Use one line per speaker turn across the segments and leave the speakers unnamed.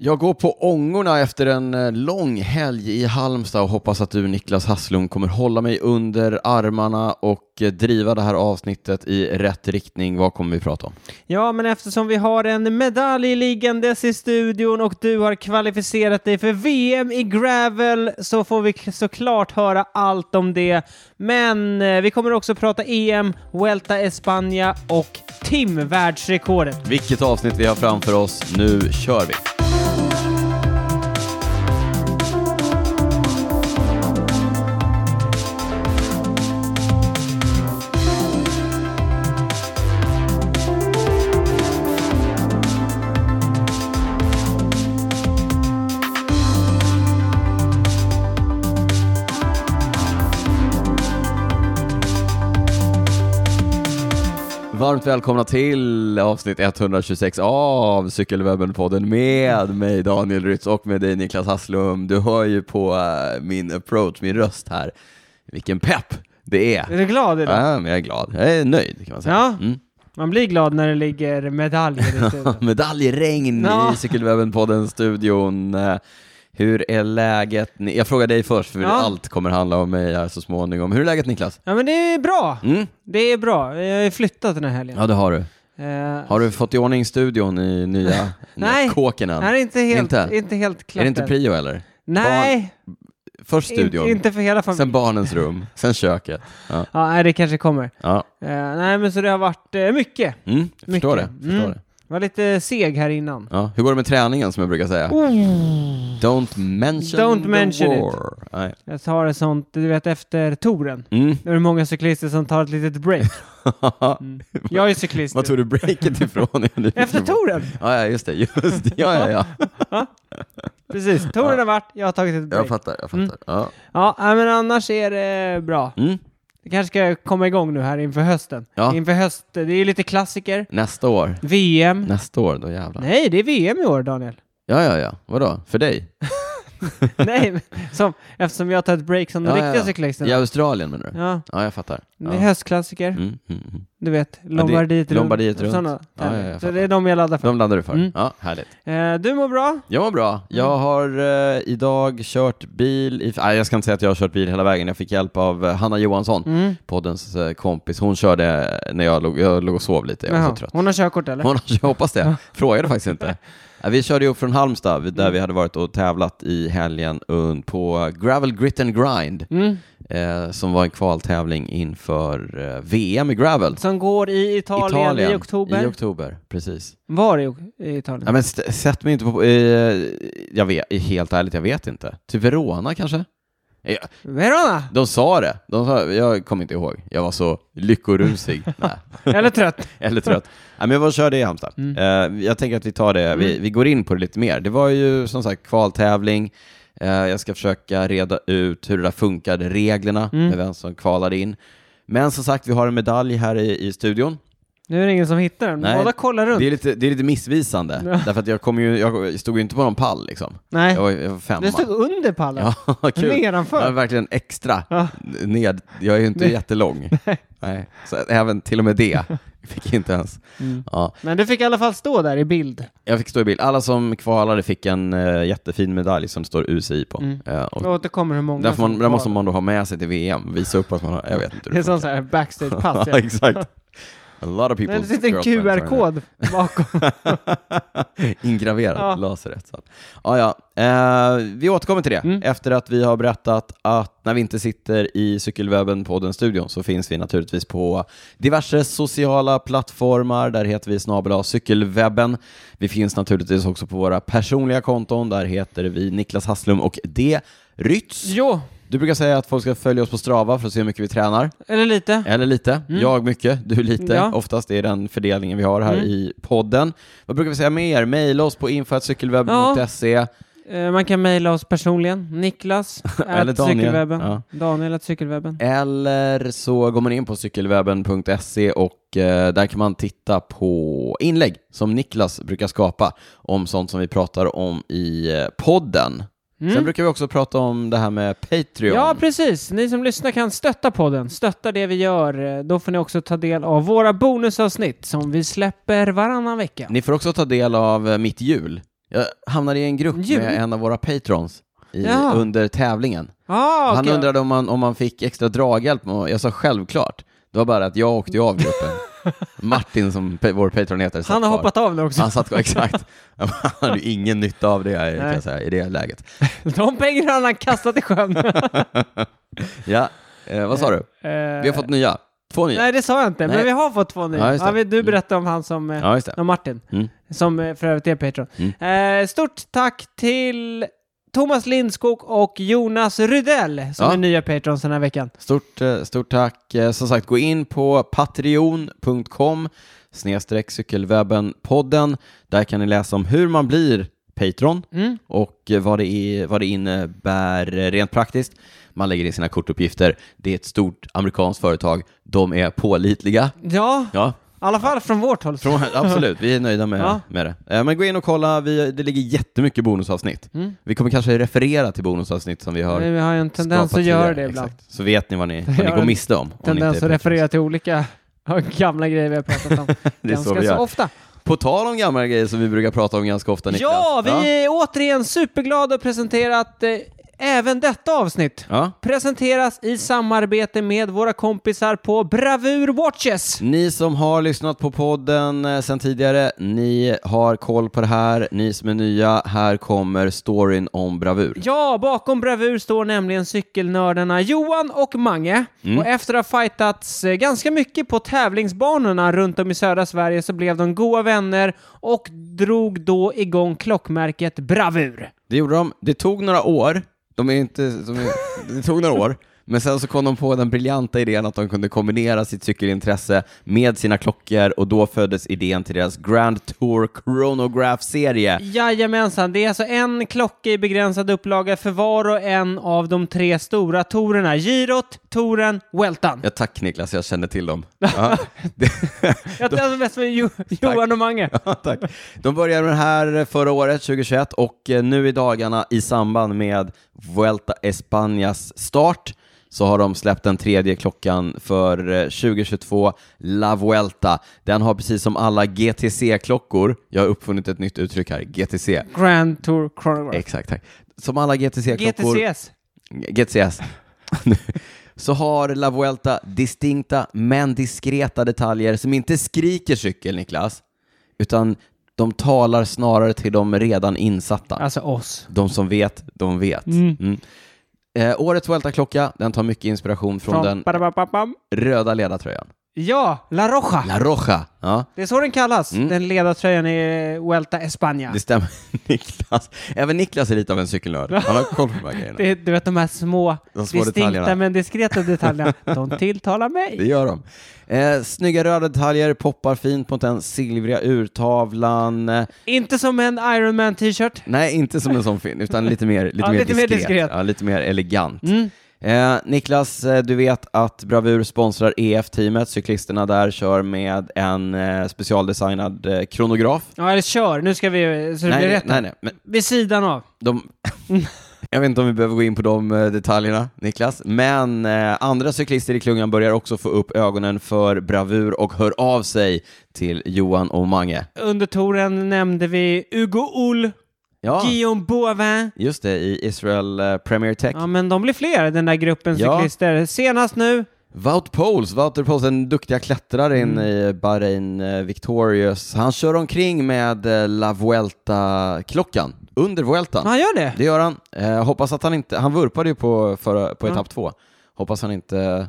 Jag går på ångorna efter en eh, lång helg i Halmstad och hoppas att du Niklas Hasslum kommer hålla mig under armarna och eh, driva det här avsnittet i rätt riktning. Vad kommer vi prata om?
Ja, men eftersom vi har en medalj liggandes i studion och du har kvalificerat dig för VM i gravel så får vi k- såklart höra allt om det. Men eh, vi kommer också prata EM, Vuelta España och timvärldsrekordet.
Vilket avsnitt vi har framför oss. Nu kör vi! Varmt välkomna till avsnitt 126 av Cykelwebben-podden med mig Daniel Rytz och med dig Niklas Hasslum. Du hör ju på eh, min approach, min röst här. Vilken pepp det är!
Är du glad idag?
Ja, men jag är glad. Jag är nöjd kan man säga.
Ja.
Mm.
Man blir glad när det ligger medaljer i studion.
Medaljregn
Ja.
i Cykelwebben-podden-studion. Eh, Hur är läget? Ni- Jag frågar dig först, för
Ja.
allt kommer handla om mig här så småningom. Hur är läget Niklas?
Ja, men det är bra.
Mm?
Det är bra. Jag har ju flyttat den här helgen.
Ja, det har du.
Eh,
Har du fått i ordning studion i nya,
Nej.
nya kåken än?
Nej, det är inte helt,
Inte?
inte. helt klart
Är det inte
än.
prio eller?
Nej,
Först studion,
inte, inte för hela familjen.
sen barnens rum, sen köket. Ja,
Ja, nej, det kanske kommer.
ja.
Eh, nej, men så det har varit eh, mycket.
Mm, jag förstår det.
Mycket.
Förstår
Mm.
det.
Var lite seg här innan.
Ja. Hur går det med träningen som jag brukar säga? Don't mention
Oh. Don't
the
mention it.
war. Nej.
Jag tar ett sånt, du vet efter touren.
Mm.
Det är många cyklister som tar ett litet break. Jag är ju cyklist.
Vad
ju.
tog du breaket ifrån? Jag är nyfiken
efter
på.
touren!
Ja, ja, just det. Just det. Ja, ja, ja.
Precis, touren har varit, jag har tagit ett break.
Jag fattar, jag fattar.
Mm.
Ja.
Ja, nej, men annars är det bra.
Mm.
Det kanske ska komma igång nu här inför hösten.
Ja.
Inför höst, det är ju lite klassiker.
Nästa år.
VM.
Nästa år, då jävlar.
Nej, det är VM i år, Daniel.
Ja, ja, ja. Vadå? För dig?
nej, men som, eftersom jag tar ett break som de
Ja, ja,
riktiga
ja.
cyklisterna.
I Australien menar du?
Ja,
Ja, jag fattar.
det
Ja.
är höstklassiker.
Mm, mm, mm.
Du vet, Lombardiet
det-
runt.
Lombardiet runt.
Sådana
Ja, ja, jag
tävlingar. så
fattar.
det är de jag laddar för.
De landar du för?
Mm.
Ja, härligt.
Eh, du mår bra?
Jag mår bra. Jag har eh, idag kört bil, i, nej, jag ska inte säga att jag har kört bil hela vägen. Jag fick hjälp av eh, Hanna Johansson,
Mm.
poddens eh, kompis. Hon körde när jag låg, jag låg och sov lite. Jag var
Jaha.
så trött.
Hon har körkort eller?
Hon har, jag hoppas det. Frågade faktiskt inte. Ja, Vi körde ju upp från Halmstad, vi- där
Mm.
vi hade varit och tävlat i helgen un- på Gravel Grit and Grind,
Mm.
eh, som var en kvaltävling inför eh, VM i Gravel.
Som går i Italien, i oktober. Mm.
I oktober, precis.
Var i, ok- i
Ja,
Italien?
men st- sätt mig inte på... Eh, jag vet, helt ärligt, jag vet inte. Typ Verona kanske? Eh,
Verona!
De sa det. De sa, jag kommer inte ihåg. Jag var så lyckorusig. Nej.
Eller trött?
Eller trött. Nej, men jag var körde i Halmstad.
Mm.
Eh, jag tänker att vi tar det, vi, vi går in på det lite mer. Det var ju som sagt kvaltävling. Eh, jag ska försöka reda ut hur det där funkade, reglerna,
Mm.
med vem som kvalade in. Men som sagt, vi har en medalj här i, i studion.
Nu är det ingen som hittar den.
Nej,
Båda kollar runt.
Det är lite, det är lite missvisande, därför att jag, kom ju, jag stod ju inte på någon pall liksom.
Nej,
Jag var, jag var femma.
Äh. du stod under pallen.
Ja, kul.
Nedanför.
Jag är verkligen extra
Ja.
ned. Jag är ju inte jättelång. Nej. Så att även till och med det fick jag inte ens. Ja.
Mm. Men du fick i alla fall stå där i bild.
Jag fick stå i bild. Alla som kvalade fick en eh, jättefin medalj som det står UCI på. Eh, och
Jag återkommer hur många
där, får man,
Mm. som
där måste
var.
man då ha med sig till VM, visa upp att man har, jag vet inte. hur
Det är
funkar.
som så här
ja,
backstagepass. ja.
exakt. A lot of people.
Nej, det sitter en QR-kod bakom.
Ingraverad,
Ja.
laserrättsad. Ja, ja. Eh, vi återkommer till det efter att vi har berättat att när vi inte sitter i cykelwebben på den studion så finns vi naturligtvis på diverse sociala plattformar. Där heter vi snabel cykelwebben. Vi finns naturligtvis också på våra personliga konton. Där heter vi Niklas Hasslum och D. Rytz.
jo,
Du brukar säga att folk ska följa oss på Strava för att se hur mycket vi tränar.
eller lite.
Eller lite. Jag mycket, du lite.
Mm. Ja. Mm.
Oftast är den fördelningen vi har här i podden. Vad brukar vi säga mer? Maila oss på info.cykelwebben.se.
Eh, Man kan mejla oss personligen. Niklas
Eller
at
Daniel.
cykelwebben.
Ja.
Daniel at cykelwebben.
Eller så går man in på cykelwebben.se och eh, där kan man titta på inlägg som Niklas brukar skapa om sånt som vi pratar om i eh, podden. Sen brukar vi också prata om det här med Patreon.
Mm. Ja, precis. Ni som lyssnar kan stötta podden. Stötta det vi gör. Eh, Då får ni också ta del av våra bonusavsnitt som vi släpper varannan vecka.
Ni får också ta del av eh, mitt jul. Jag hamnade i en grupp
Jul?
med en av våra patrons i,
Ja.
under tävlingen.
Ah,
Han
okej.
undrade om man, om man fick extra draghjälp, och jag sa självklart. Det var bara att jag åkte ju av gruppen. Martin, som pa- vår patron heter, satt
Han har
kvar.
hoppat av nu också.
Han satt kvar, exakt. Han hade ju ingen nytta av det här, kan jag säga, i det läget.
De pengarna har han kastat i sjön.
Ja, eh, vad sa du? Vi har fått nya. Två nya.
Eh, Nej, det sa jag inte, men
Nej.
vi har fått två nu.
Ja, just det.
Ja, vi- du berättade om han som... eh,
Ja, just det.
om Martin,
Mm.
som eh, för övrigt är Patreon. Eh, stort tack till Thomas Lindskog och Jonas Rydell som
Ja.
är nya Patrons den här veckan.
Stort, eh, stort tack. Eh, Som sagt, gå in på patreon.com snedstreck cykelwebben-podden. Där kan ni läsa om hur man blir Patreon
Mm.
och eh, vad det, är, vad det innebär eh, rent praktiskt. Man lägger in sina kortuppgifter. Det är ett stort amerikanskt företag. De är pålitliga.
Ja,
Ja,
i alla fall från vårt håll.
från, absolut. Vi är nöjda med,
Ja.
med det. Eh, Men gå in och kolla. Vi, det ligger jättemycket bonusavsnitt.
Mm.
Vi kommer kanske referera till bonusavsnitt som vi har
Men Eh, vi har ju en tendens
skapat
att göra det
tidigare.
ibland.
Exakt. Så vet ni vad ni, vad ni
Ja,
går miste om. om ni inte
Tendens
är
att
Patreons.
referera till olika gamla grejer vi har pratat om.
Det är så
ganska
vi gör.
så ofta.
På tal om gamla grejer som vi brukar prata om ganska ofta Niklas.
Ja, vi är återigen superglada att presentera att eh, även detta avsnitt
Ja.
presenteras i samarbete med våra kompisar på Bravur Watches.
Ni som har lyssnat på podden eh, sen tidigare, ni har koll på det här. Ni som är nya, här kommer storyn om bravur.
Ja, bakom Bravur står nämligen cykelnördarna Johan och Mange.
Mm.
Och efter att ha fightats eh, ganska mycket på tävlingsbanorna runt om i södra Sverige så blev de goda vänner och drog då igång klockmärket Bravur.
Det gjorde de. Det tog några år. De är inte, de är, det tog några år. Men sen så kom de på den briljanta idén att de kunde kombinera sitt cykelintresse med sina klockor och då föddes idén till deras Grand Tour Chronograph-serie.
Jajamensan, det är alltså en klocka i begränsad upplaga för var och en av de tre stora torerna. Girot, Toren, Weltan.
Ja, tack Niklas, jag känner till dem. Ja, det,
Jag tar mest med jo Johan och Mange.
Ja, Tack. De började med det här eh, förra året, 2021, och eh, nu i dagarna i samband med Vuelta Españas start så har de släppt den tredje klockan för eh, 2022, La Vuelta. Den har precis som alla GTC-klockor, jag har uppfunnit ett nytt uttryck här, GTC.
Grand Tour Chronograph.
Exakt, tack. Som alla GTC-klockor...
GTCS.
GTCS. så har La Vuelta distinkta men diskreta detaljer som inte skriker cykel, Niklas, utan de talar snarare till de redan insatta.
Alltså oss.
De som vet, de vet. Mm. Eh, årets Vuelta-klocka, den tar mycket inspiration från,
Från
den
Badabababam.
röda ledartröjan.
Ja, La Roja.
La Roja! Ja,
Det är så den kallas, den ledartröjan i Vuelta España.
det stämmer. Niklas. Även Niklas är lite av en cykelnörd. Han har koll på de här grejerna.
Det är, du vet de här små,
De små
distinkta
detaljerna.
men diskreta detaljerna. De tilltalar
Det
mig.
gör de. Eh, snygga röda detaljer poppar fint mot den silvriga urtavlan. Eh,
Inte som en Iron Man t-shirt.
Nej, inte som en sån fin, utan lite mer, lite
Ja,
mer
lite mer
diskret.
diskret.
Ja, lite mer elegant. Eh, Niklas, eh, du vet att Bravur sponsrar EF-teamet. Cyklisterna där kör med en eh, specialdesignad eh, kronograf.
Ja, eller kör. Nu ska vi, så det
nej,
blir rätt.
nej, nej, men
Vid sidan av.
de... Jag vet inte om vi behöver gå in på de eh, detaljerna, Niklas, men eh, andra cyklister i klungan börjar också få upp ögonen för bravur och hör av sig till Johan och Mange.
Under touren nämnde vi Hugo Ull,
Ja,
Guillaume Bovin.
just det, i Israel eh, Premier Tech.
Ja, men de blir fler, den där gruppen
Ja.
cyklister. Senast nu,
Wout Poels, Wouter Poels, den duktiga klättraren i Bahrain eh, Victorious. Han kör omkring med eh, La Vuelta-klockan, under Vueltan.
han gör det.
Det gör han. Eh, hoppas att han inte, han vurpade ju på, förra, på
Ja.
etapp två. Hoppas han inte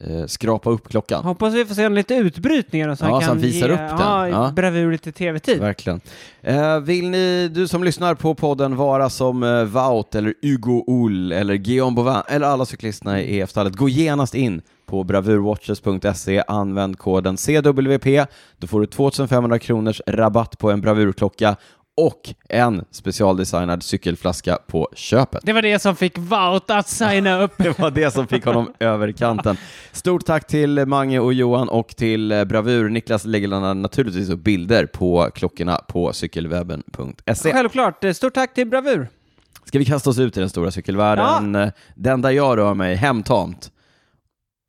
eh, skrapar upp klockan.
Hoppas vi får se en lite utbrytningar och så
Ja,
han
så
kan
han visar
ge,
upp den.
Ja,
Ja.
bravur lite tv-tid.
Verkligen. Eh, vill ni, du som lyssnar på podden, vara som eh, Wout eller Hugo Ull eller Guillaume Bovin eller alla cyklisterna i EF-stallet, gå genast in på bravurwatches.se, E. använd koden CWP, då får du 2500 kronors rabatt på en bravurklocka och en specialdesignad cykelflaska på köpet.
Det var det som fick Wout att signa upp.
Det var det som fick honom över kanten. Stort tack till Mange och Johan och till eh, Bravur. Niklas lägger naturligtvis upp bilder på klockorna på cykelwebben.se.
Självklart. Eh, Stort tack till Bravur.
Ska vi kasta oss ut i den stora cykelvärlden? Den där jag rör mig, hemtamt.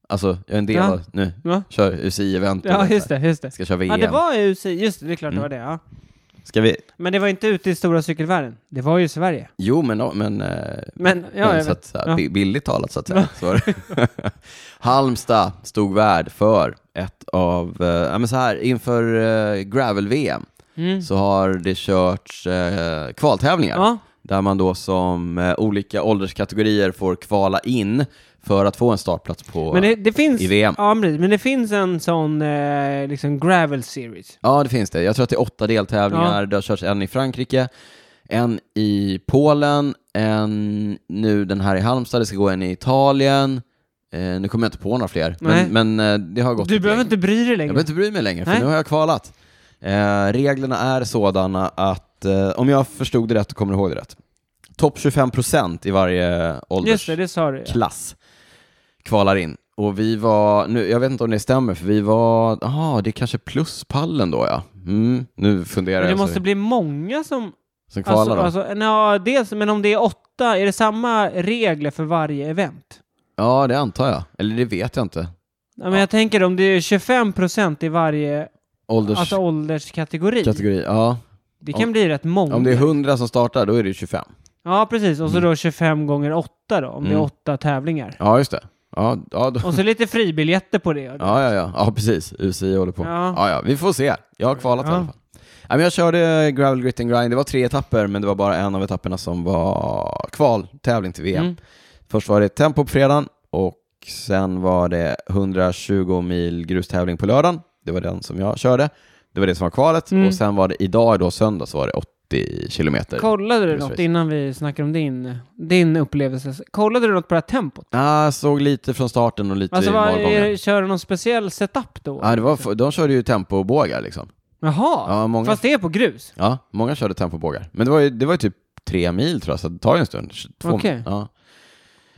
Alltså, jag är en del
Ja.
av, nu,
Ja,
kör UCI-event. och
ja
sånt
just
där.
det. Just det.
Ska köra VM. Mm.
Ja, det var ju, just det, det är klart det var det. Ja.
Ska vi?
Men det var inte ute i stora cykelvärlden. Det var ju i Sverige.
Jo, men, men, eh,
Men, ja, jag
men så
vet.
att, så här,
Ja.
bi- billigt talat så att säga. Så var det. Halmstad stod värd för ett av, eh, ja men så här, inför eh, Gravel-VM
Mm.
så har det körts eh, kvaltävlingar
Ja.
där man då som eh, olika ålderskategorier får kvala in för att få en startplats på...
Men det, det finns...
i VM.
Ja, precis. men det finns en sån eh, liksom gravel series.
Ja, det finns det. Jag tror att det är åtta deltävlingar. Det har körts en i Frankrike, en i Polen, en nu den här i Halmstad, det ska gå en i Italien. Eh, nu kommer jag inte på några fler,
Nej.
men, men eh, det har gått
Du
ett
behöver
gäng.
inte bry dig
Jag
längre.
behöver inte bry mig längre, för
Nej.
nu har jag kvalat. Eh, reglerna är sådana att, eh, om jag förstod det rätt och kommer ihåg det rätt, topp 25% i varje
Just
ålders
det, det sa du.
klass kvalar in. Och vi var, nu, jag vet inte om det stämmer, för vi var, jaha, det är kanske pluspallen då ja. Mm, nu funderar
Men det
jag,
måste
så,
bli många som...
som kvalar
Alltså,
då.
alltså, nja, dels, men om det är åtta, är det samma regler för varje event?
Ja, det antar jag. Eller det vet jag inte.
Ja, men Jag tänker om det är 25 procent i varje
Ålders...
alltså, ålderskategori.
Kategori, ja.
Det kan bli rätt många.
Om det är 100 som startar, då är det ju 25.
Ja, precis. Och så då 25 gånger 8 då, om det är
Mm.
8 tävlingar.
Ja, just det. Ja, ja, då...
Och så lite fribiljetter på det.
ja, ja, ja. ja precis. UCI håller på.
Ja.
Ja. ja, Vi får se. Jag har kvalat i
Ja.
alla fall. Ja, men jag körde Gravel Grit and Grind. Det var tre etapper, men det var bara en av etapperna som var kvaltävling till VM.
Mm.
Först var det tempo på fredagen och sen var det 120 mil grustävling på lördagen. Det var den som jag körde. Det var det som var kvalet.
Mm.
Och sen var det idag då söndag så var det 80 kilometer.
Kollade du
Precis.
något innan vi snackade om din, din upplevelse? Kollade du något på det här tempot?
ah, såg lite från starten och lite
Alltså,
i
vad,
målgången.
kör du någon speciell setup då?
Ja, det var, de körde ju tempobågar liksom.
Jaha,
Ja, många,
fast det är på grus?
ja, många körde tempobågar. Men det var ju, det var ju typ tre mil tror jag, så det tar ju en stund. Två,
Okej.
ja.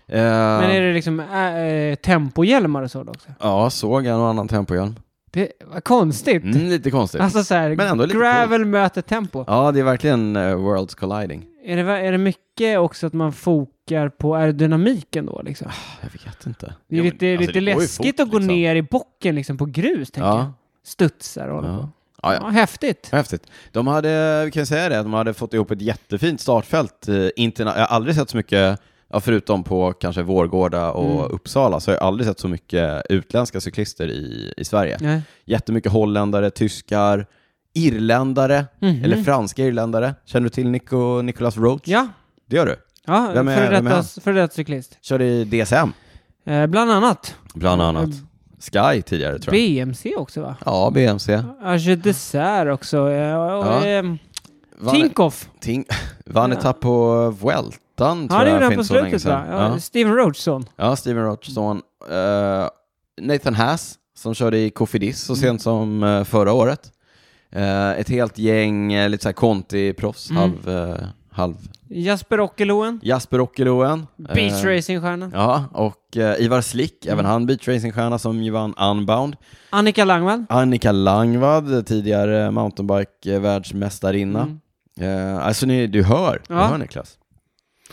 Eh,
Men är
det...
det liksom äh, äh, tempohjälmar och så då också?
ja, såg en och annan tempohjälm.
Det, vad konstigt!
Mm, lite konstigt.
Alltså så
Men ändå
här,
lite
gravel möter tempo.
Ja, det är verkligen eh, worlds colliding.
Är, det, är det mycket också att man fokar på aerodynamiken då liksom?
Jag vet inte.
Det
Ah, Jo,
är
men,
lite,
alltså,
lite
det går ju
läskigt
fort,
att gå
liksom.
ner i bocken liksom på grus, tänker jag.
Ja,
Studsar och håller
ja. Ah,
på.
Ja,
Ja,
ja.
häftigt.
Häftigt. De hade, vi kan säga det, de hade fått ihop ett jättefint startfält. eh, Interna- jag har aldrig sett så mycket, ja, förutom på kanske Vårgårda och
Mm.
Uppsala, så har jag aldrig sett så mycket utländska cyklister i, i Sverige.
Nej.
Jättemycket holländare, tyskar, irländare,
Mhm.
eller franska irländare. Känner du till Nico, Nicolas Roach?
Ja,
Det gör du.
ja
Vem är-
före
vem är
detta,
han?
före detta cyklist.
Körde i DSM,
Eh, bland annat.
bland annat.
Mm.
Sky tidigare, tror jag.
BMC också va?
ja, BMC.
Age Dessert också. Eh, och,
Ja.
ehm,
Vann-
Tinkoff.
Ting vann
Ja.
etapp på Vueltan, tror
Han
jag,
gjorde
för
han på
inte så länge
slutet va?
sedan.
Ja, Steve Roachson.
Ja, Steven Rochson. Eh, Nathan Haas, som körde i Cofidis
Mm.
så sent som eh, förra året. Eh, ett helt gäng eh, lite såhär Conti-proffs,
Mm.
halv, eh, halv
Jasper Ockeloen.
Jasper Ockeloen. eh,
Beach racingstjärnan.
Ja, och eh, Ivar Slick,
Mm.
även han beatracingstjärna som ju vann Unbound.
Annika Langvall.
Annika Langvad, tidigare mountainbike-världsmästarinna.
Mm.
Eh, alltså ni, du hör, du
Ja.
hör Niklas.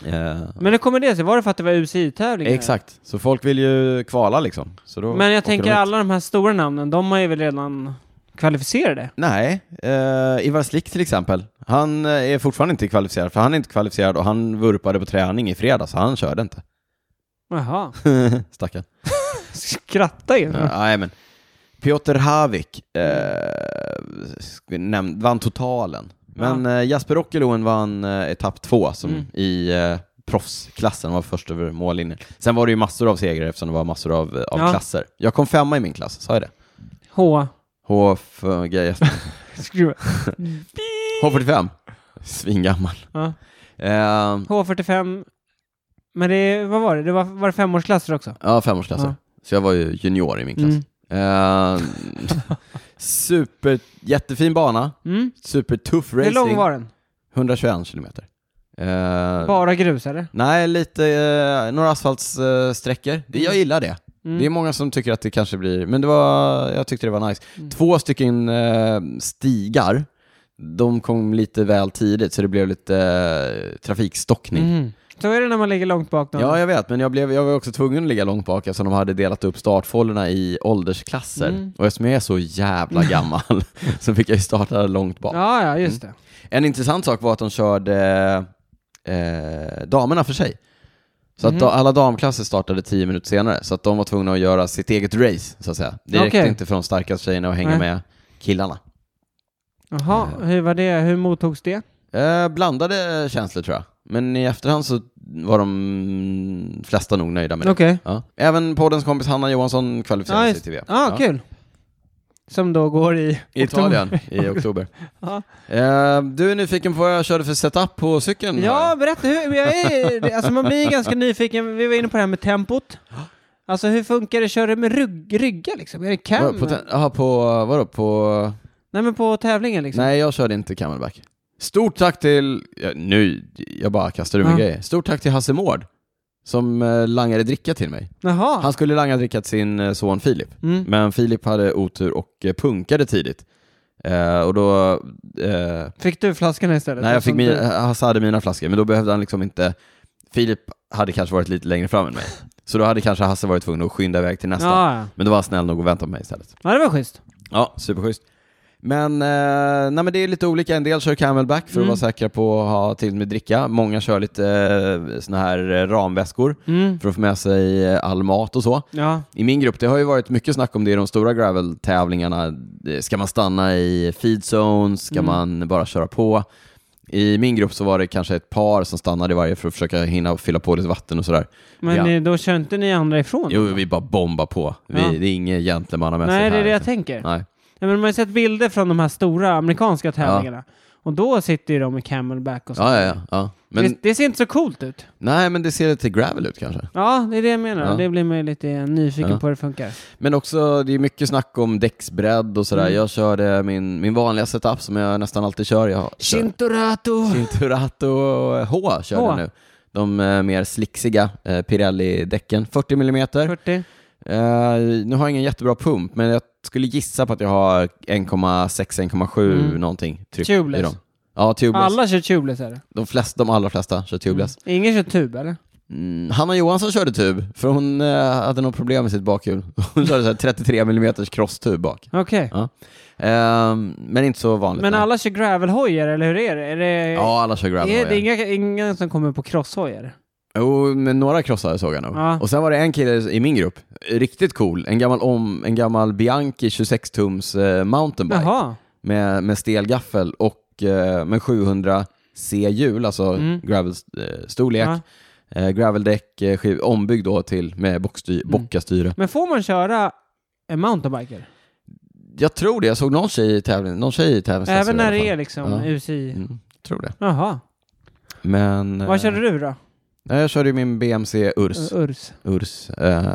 Eh,
Men hur kommer det sig? Var det för att det var UCI-tävlingar?
Exakt, så folk vill ju kvala liksom. Så då
Men jag
åker
tänker
de hit.
alla de här stora namnen, de har ju väl redan kvalificerade?
Nej, eh, Ivar Slick till exempel, han eh, är fortfarande inte kvalificerad, för han är inte kvalificerad och han vurpade på träning i fredags, så han körde inte.
Jaha.
Stackarn.
Skratta ju.
Eh, Nej, men Piotr Havik eh, sk- näm- vann totalen, men eh, Jasper Ockeloen vann eh, etapp två som
Mm.
i eh, proffsklassen var först över mållinjen. Sen var det ju massor av segrar eftersom det var massor av, eh, av
Ja.
klasser. Jag kom femma i min klass, sa jag det?
H.
H... för- grejer.
Skruva.
H45. Svingammal.
Ja.
Ehm,
H45. Men det, vad var det? Det var, var det femårsklasser också?
ja, femårsklasser.
Ja.
Så jag var ju junior i min klass.
Mm.
Ehm, super, jättefin bana,
Mm.
supertuff
Hur lång
racing.
var den?
121 kilometer. Ehm,
Bara grus eller?
nej, lite, eh, några asfaltssträckor. Det- jag gillar det.
Mm.
Det är många som tycker att det kanske blir, men det var, jag tyckte det var nice.
Mm.
Två stycken eh, stigar, de kom lite väl tidigt så det blev lite eh, trafikstockning.
Mm. Så är det när man ligger långt bak. någon.
Ja, jag vet, men jag, blev, jag var också tvungen att ligga långt bak eftersom de hade delat upp startfållorna i åldersklasser.
Mm.
Och eftersom jag är så jävla gammal så fick jag ju starta långt bak.
ja, ja, just
Mm.
det.
En intressant sak var att de körde eh, damerna för sig. Så
Mhm.
att da- alla damklasser startade tio minuter senare, så att de var tvungna att göra sitt eget race, så att säga. Det räckte
Okej.
inte för de starkaste tjejerna att hänga
Nej.
med killarna.
Jaha, hur var det? Hur mottogs det?
Eh, blandade känslor tror jag, men i efterhand så var de flesta nog nöjda med det.
Okej.
Ja. Även poddens kompis Hanna Johansson kvalificerade
Ja,
sig till VM.
ah, kul. Som då går i...
I Italien i oktober.
Ja.
Eh, du är nyfiken på vad jag körde för setup på cykeln?
Ja, berätta. Hur, jag är, alltså man blir ganska nyfiken. Vi var inne på det här med tempot. Alltså hur funkar det? Kör du med rygg, rygga liksom? Är det
Vadå,
cam?
På, ten- aha, på, vadå, på...
Nej, men på tävlingen liksom.
Nej, jag körde inte camelback. Stort tack till... Ja, nu, jag bara kastar ur mig
Ja.
grejer. Stort tack till Hasse Mård, som eh, langade dricka till mig.
Jaha.
Han skulle langa dricka till sin eh, son Filip,
Ah. Mm.
men Filip hade otur och eh, punkade tidigt. Eh, och då... Eh,
Fick du flaskan istället?
Nej, jag fick
Som
min, äh,
du-
Hasse hade mina flaskor, men då behövde han liksom inte... Filip hade kanske varit lite längre fram än mig, så då hade kanske Hasse varit tvungen att skynda iväg till nästa.
Ja, ja.
Men då var han snäll nog och väntade på mig istället.
ja, det var schysst.
Ja, superschysst. Men, eh, nej, men det är lite olika. En del kör camelback för att
Mm.
vara säkra på att ha till med dricka. Många kör lite eh, såna här eh, ramväskor
Mm.
för att få med sig eh, all mat och så.
Ja.
I min grupp, det har ju varit mycket snack om det i de stora gravel-tävlingarna. Eh, Ska man stanna i feed zones? Ska
Mm.
man bara köra på? I min grupp så var det kanske ett par som stannade i varje för att försöka hinna fylla på lite vatten och sådär.
Men
Ja.
ni- då kör inte ni andra ifrån?
Jo, vi bara bombar på. Vi,
Mm. Ja.
Det är inget gentlemannamässigt
Nej, det är
här,
det jag
liksom.
tänker.
Nej.
Ja, men man har ju sett bilder från de här stora amerikanska tävlingarna. Och då sitter ju de med camelback och så.
Ja, ja, ja. ja. Men,
det, det ser inte så coolt ut.
Nej, men det ser lite gravel ut kanske.
Ja, det är det jag menar.
Ja.
Det blir man ju lite nyfiken
Ja.
på hur det funkar.
Men också, det är mycket snack om däcksbredd och sådär.
Mm.
Jag körde min, min vanliga setup som jag nästan alltid kör. Jag kör
Shintorato!
Cinturato H körde
H.
jag nu. De eh, mer slicksiga eh, Pirelli-däcken, 40 millimeter.
40.
Eh, nu har jag ingen jättebra pump, men jag skulle gissa på att jag har 1,6-1,7
Mm.
någonting tryck i
Tubeless.
dem. Ja, tubeless.
Alla kör tubeless är det.
De, flesta, de allra flesta kör tubeless.
Ingen kör tub eller?
Mm. Hanna Johansson körde tub, för hon eh, hade något problem med sitt bakhjul. Hon körde så här 33 mm crosstub bak.
Okej.
Ja. Ehm, men inte så vanligt.
Men
nej.
alla kör gravelhojar eller hur är det? Är det,
Ja, alla kör
är det
gravelhojar.
inga, ingen som kommer på crosshojar?
Jo, men några krossade såg jag nog.
Ja.
Och sen var det en kille i min grupp, riktigt cool, en gammal, om, en gammal Bianchi 26-tums eh, mountainbike
Jaha.
med, med stel gaffel och eh, med 700 C-hjul, alltså
Mm.
gravel-storlek,
Ja.
eh, graveldäck, eh, skiv- ombyggd då till med bocksty-
Mm.
bockastyre.
Men får man köra en mountainbiker?
Jag tror det, jag såg någon tjej i tävlingen, någon tjej i tävlingen.
Även när det är liksom
alltså, Ja.
UCI?
Mm, tror det.
Jaha.
Men... eh,
Vad körde du då?
nej, Jag körde ju min BMC Urs,
Urs. Urs.
Urs eh,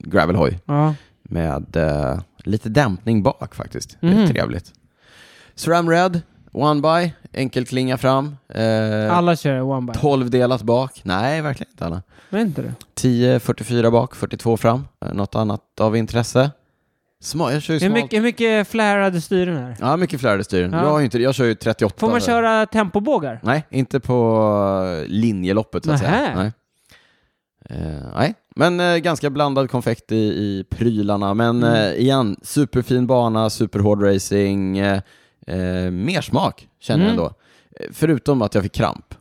gravelhoj.
Ja.
med eh, lite dämpning bak faktiskt. Det är
Mhm.
trevligt. SRAM Red, One By, enkelklinga fram. Eh,
Alla kör one bike.
12 delat bak. Nej, verkligen inte alla.
Men inte du?
10, 44 bak, 42 fram. Eh, något annat av intresse? Sma, jag kör ju
Hur
smalt.
mycket, hur mycket flärade styren är?
Ja, mycket flärade styren.
Ja.
Jag, har ju inte, jag kör ju 38.
Får man köra tempobågar?
Nej, inte på eh, linjeloppet så att säga.
Nähä.
Nej. Eh, nej, men eh, ganska blandad konfekt i, i prylarna. Men
Mm.
eh, igen, superfin bana, superhård racing. Eh, eh, mer smak känner
Mm.
jag ändå. Eh, Förutom att jag fick kramp.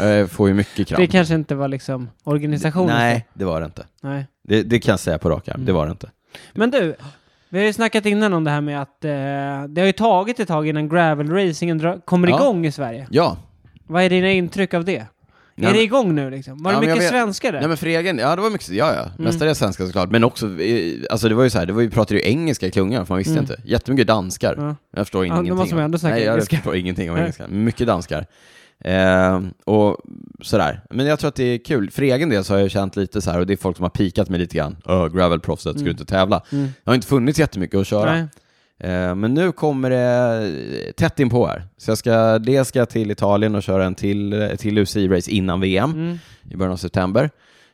Eh, jag får ju mycket
Det
kramp.
kanske inte var liksom organisationen?
Nej, det var det inte.
Nej.
Det, det kan jag säga på rak arm,
liksom. Mm.
det var det inte.
Men du, vi har ju snackat innan om det här med att eh, det har ju tagit ett tag innan gravelracingen dra- kommer
Ja.
igång i Sverige.
Ja,
Vad är dina intryck av det?
Nej,
är det
men-
igång nu liksom? Var
Ja,
det
men jag
mycket
vet-
svenskar där?
Nej men för egen ja det var mycket, ja
Mm.
ja, mestadels svenska såklart, men också, eh, alltså det var ju så här, det var, vi pratade ju engelska i klungan för man visste
Mm.
inte, jättemycket danskar,
Ja.
jag förstår
Ja, då
ingenting.
måste man
om-
ändå snacka
Nej, jag
engelska.
förstår ingenting om
Nej.
engelska, mycket danskar. Eh, och sådär, men jag tror att det är kul, för egen del så har jag känt lite så här, och det är folk som har pikat mig lite grann, öh, gravelproffset, ska du
Mm.
inte tävla?
Mm.
Det har inte funnits jättemycket att köra.
Nej.
Eh, Men nu kommer det tätt inpå här. Så jag ska, dels ska jag till Italien och köra en till, ett till UCI-race innan VM
Mm.
i början av september.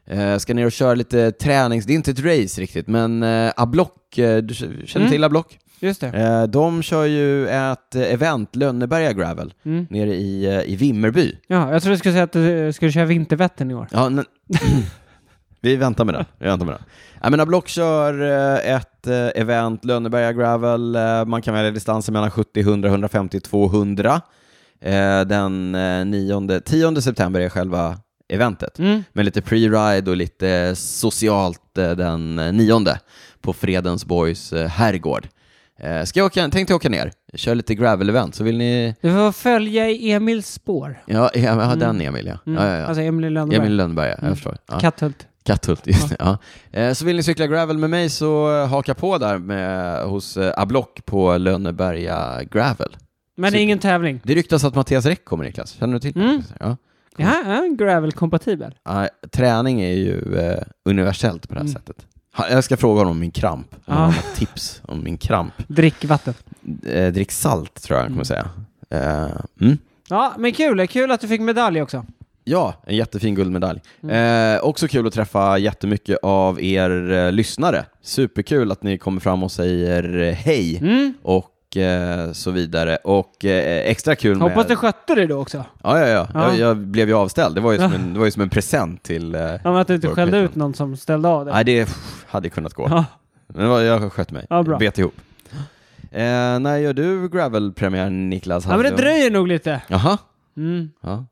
Eh, ska ner och köra lite tränings... Det är inte ett race riktigt, men eh, Ablock, eh, du k- känner
Mm.
till Ablock?
Just det.
Eh, de kör ju ett eh, event, Lönneberga Gravel,
Mm.
nere i, eh, i Vimmerby.
Ja, jag trodde du skulle säga att du eh, skulle köra Vintervättern i år.
Ja, men... Vi väntar med den. Vi väntar med den. Jag menar, Block kör eh, ett eh, event, Lönneberga Gravel, eh, man kan välja distanser mellan 70, 100, 150, 200. Eh, Den eh, 9, 10 september är själva eventet.
Mm.
Med lite pre-ride och lite socialt eh, den eh, nionde på Fredensborgs eh, herrgård. Eh, Ska jag åka, tänkte jag åka ner, köra lite gravel-event, så vill ni...
Du får följa i Emils spår.
Ja, ja, ja den Emil, ja.
Mm.
ja, ja, ja.
Alltså Emil Lönneberg.
Emil Lönneberg, ja,
Mm.
jag förstår. Ja.
Katthult.
Katthult, just det. Ja. Eh, Så vill ni cykla gravel med mig så eh, haka på där med, hos eh, Ablock på Lönneberga Gravel.
Men det är ingen tävling.
Det ryktas att Mattias Räck kommer Niklas, känner du till det?
Mm.
Ja.
Ja, ja, gravel-kompatibel.
Ja, Träning är ju eh, universellt på det här
Mm.
sättet. Ha- Jag ska fråga honom om min kramp, om
Ah.
han har något tips om min kramp.
Drick vatten.
Eh, drick salt tror jag han kommer säga. Eh, mm.
Ja, men kul. Kul att du fick medalj också.
Ja, en jättefin guldmedalj.
Mm.
Eh, också kul att träffa jättemycket av er eh, lyssnare. Superkul att ni kommer fram och säger eh, hej
Mm.
och eh, så vidare. Och eh, extra kul med...
Hoppas du skötte dig då också.
Ja, ja, ja.
Ja.
Jag, jag blev ju avställd. Det var ju som
Ja.
en, det var ju som en present till... Eh...
Ja, men att du inte
Vår
skällde
Patreon.
ut någon som ställde av dig.
Nej, det pff, hade kunnat gå.
Ja.
Men det var- jag sköt mig.
Ja, bra.
Bet ihop. Eh, när gör du gravelpremiär, Niklas?
Ja, men det
Haglund?
dröjer nog lite.
Jaha.
Mm.
Ja.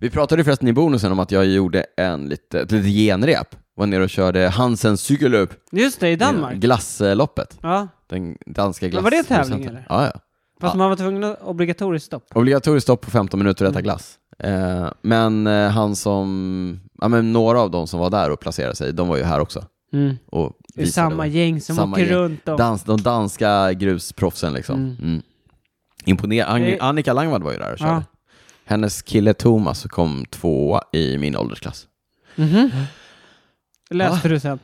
Vi pratade ju förresten i bonusen om att jag gjorde en lite, ett litet genrep. Var nere och körde Hansen Cykelöp.
Just det, i Danmark.
Glassloppet.
Ja,
Den danska
Men
glass.
var det tävling, eller?
Ja, ja.
fast
Ja.
man var tvungen att obligatoriskt stopp.
Obligatoriskt stopp på 15 minuter
Mm.
att äta glass. Eh, men eh, han som, ja men några av dem som var där och placerade sig, de var ju här också.
Mm.
Och
Det är
visade
samma
dem.
gäng som
Samma
åker
gäng.
runt och...
Dans, de danska grusproffsen liksom.
Mm.
Mm. Imponer- Ang-
Det-
Annika Langvad var ju där och körde.
Ja.
Hennes kille Thomas kom tvåa i min åldersklass.
Mhm. Läste du sen?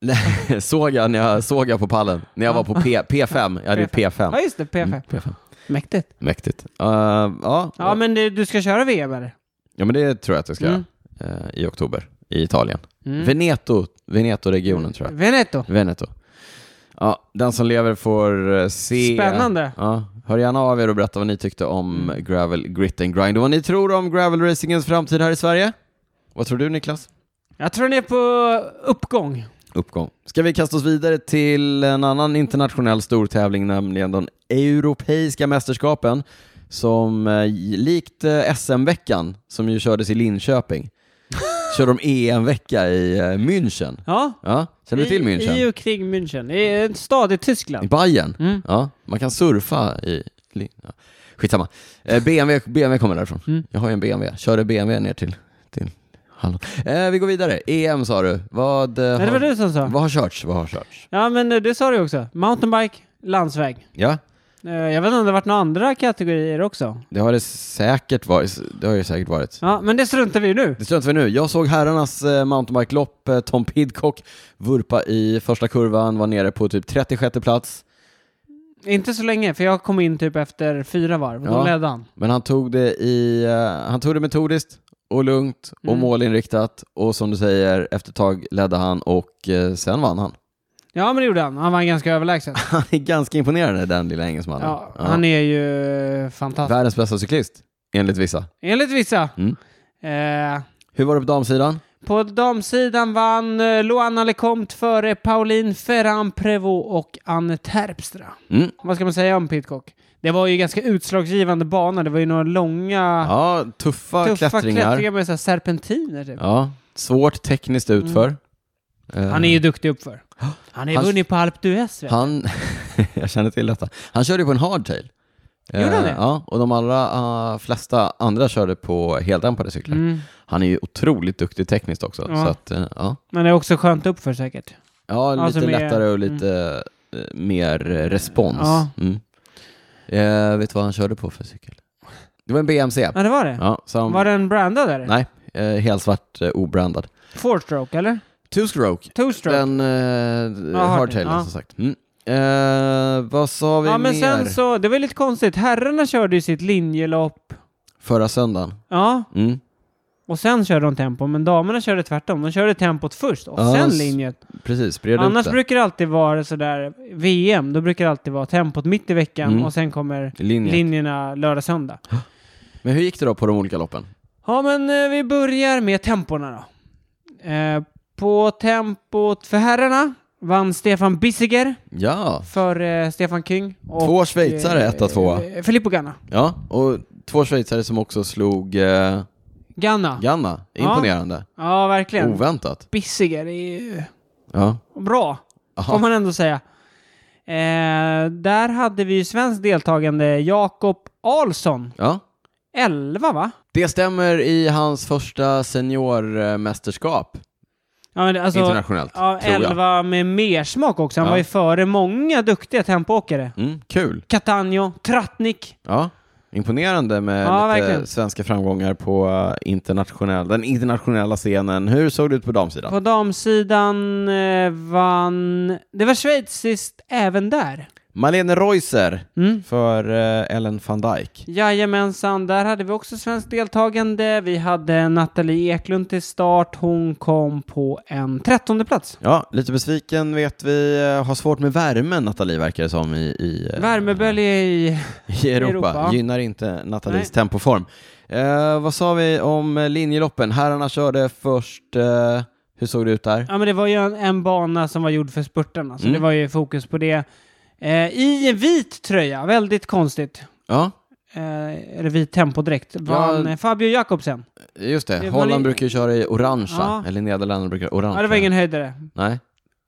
Nej, såg jag när jag såg jag på pallen, när jag var på P, P5, jag hade ju
Ja,
P5.
just det. PF.
Mm, P5.
Mäktigt.
Mäktigt. Eh, ja.
Ja, men det, du ska köra VM eller?
ja, men det tror jag att jag ska
Mm.
göra eh, i oktober i Italien.
Mm.
Veneto, Veneto-regionen tror jag.
Veneto.
Veneto. Ja, den som lever får eh, se.
Spännande.
Ja, hör gärna av er och berätta vad ni tyckte om
Mm.
Gravel Grit and Grind och vad ni tror om gravelracingens framtid här i Sverige. Vad tror du Niklas?
Jag tror ni är på uppgång.
Uppgång. Ska vi kasta oss vidare till en annan internationell stortävling, nämligen de europeiska mästerskapen som eh, likt eh, SM-veckan som ju kördes i Linköping kör de EM-vecka i eh, München.
Ja.
Ja, känner du till
I, I
München?
och kring München. I en stad i
I
Tyskland.
Bayern?
Mm.
Ja, man kan surfa i... Lin- Ja. Skitsamma. Eh, BMW, BMW kommer därifrån.
Mm.
Jag har ju en BMW. Körde BMW ner till, till Halland. Eh, vi går vidare. EM sa du. Vad, eh,
Nej, det
har,
var du som sa.
vad har körts? Vad har körts?
Ja, men eh, det sa du också. Mountainbike, landsväg.
Ja,
Eh, Jag vet inte om det har varit några andra kategorier också.
det har det säkert varit. Det har det säkert varit.
Ja, men det struntar vi i nu.
Det struntar vi nu. Jag såg herrarnas eh, mountainbike-lopp. Eh, Tom Pidcock vurpa i första kurvan, var nere på typ 36 plats.
Inte så länge, för jag kom in typ efter fyra varv och då
Ja.
ledde han.
Men han tog det, i, eh, han tog det metodiskt och lugnt och
Mm.
målinriktat och som du säger, efter ett tag ledde han och eh, sen vann han.
Ja, men det gjorde han. Han var ganska överlägsen.
Han är ganska imponerande den lilla engelsmannen.
Ja, han är ju eh, fantastisk.
Världens bästa cyklist, enligt vissa.
Enligt vissa.
Mm.
Eh,
Hur var det på damsidan?
på damsidan vann eh, Loana Lecomte före Pauline Ferrand Prévost och Anne Terpstra.
Mm.
Vad ska man säga om Pidcock? Det var ju ganska utslagsgivande bana. Det var ju några långa,
Ja, tuffa,
Ah. tuffa
klättringar.
klättringar, med så här serpentiner typ.
Ja, svårt tekniskt utför. Eh,
Han är ju duktig uppför. Han är
Han-
vunnit på Alpe d'Huez. vet du.
Han, jag känner till detta. Han körde ju på en hardtail.
Gjorde han det?
Ja, och de allra eh, flesta andra körde på heldämpade cyklar.
Mm.
Han är ju otroligt duktig tekniskt också.
Ja.
Så att, eh, ja.
Men det är också skönt uppför säkert.
ja, lite
Alltså mer-
lättare och lite eh, mer eh, respons.
Ja.
Mm. Eh, vet du vad han körde på för cykel? Det var en BMC.
Ja, det var det.
Ja, som,
Var den brandad eller?
Nej, eh, helt svart, eh, obrandad.
Four-stroke eller?
Two-stroke.
Two-stroke?
Den eh,
Ja,
hardtailen
hardtail, ja.
som sagt. Mm. Eh, vad sa vi
Ja, men
mer
sen så, det var lite konstigt. Herrarna körde ju sitt linjelopp.
förra söndagen?
Ja,
Mm.
och sen körde de tempo, men damerna körde tvärtom. De körde tempot först och
Ja,
sen
s-
linjet.
Precis, spred
Annars
ut det.
brukar det alltid vara sådär, VM, då brukar det alltid vara tempot mitt i veckan
Mm.
och sen kommer
Linjen.
linjerna lördag-söndag.
Men hur gick det då på de olika loppen?
Ja, men eh, vi börjar med temporna då. Eh, på tempot för herrarna vann Stefan Bissiger
Ja,
för eh, Stefan King. Och,
Två schweizare, etta, tvåa.
eh, Filippo Ganna.
ja, och två schweizare som också slog eh,
Ganna. Ja,
Ganna.
Ja.
Imponerande.
verkligen.
Oväntat.
Bissiger är ju
Ja.
bra, får
Aha.
man ändå säga. Eh, där hade vi ju svensk deltagande Jakob Ahlsson.
ja.
11 va?
Det stämmer i hans första seniormästerskap
Ja, men det- alltså,
internationellt,
ja,
tror jag.
11 med mersmak också. Han
Ja.
var ju före många duktiga tempoåkare.
Mm, kul.
Catania, Trattnik.
Ja. Imponerande med
Ja,
lite
verkligen.
svenska framgångar på eh, internationell, den internationella scenen. Hur såg det ut på damsidan?
På damsidan eh, vann... Det var schweiziskt även där.
Malene Reuser
Mm.
för eh, Ellen van Dijk.
Jajamensan, där hade vi också svenskt deltagande. Vi hade Nathalie Eklund till start. Hon kom på en trettonde plats.
Ja, lite besviken vet vi. eh, Har svårt med värmen, Nathalie verkar det som, i, i, eh,
Värmebölja i...
i Europa.
Europa.
Gynnar inte Nathalies
Nej.
tempoform. Eh, vad sa vi om eh, linjeloppen? Herrarna körde först, eh, hur såg det ut där?
Ja, men det var ju en, en bana som var gjord för spurtarna, så
Mm.
det var ju fokus på det. Eh, I en vit tröja, väldigt konstigt.
Ja,
Eh, eller vit tempodräkt, vann eh, Fabio Jakobsen.
just det.
Det var
Holland
li-
brukar ju köra i orangea,
Ja.
eller Nederländerna brukar orange.
Ja, det var ingen höjdare.
Nej.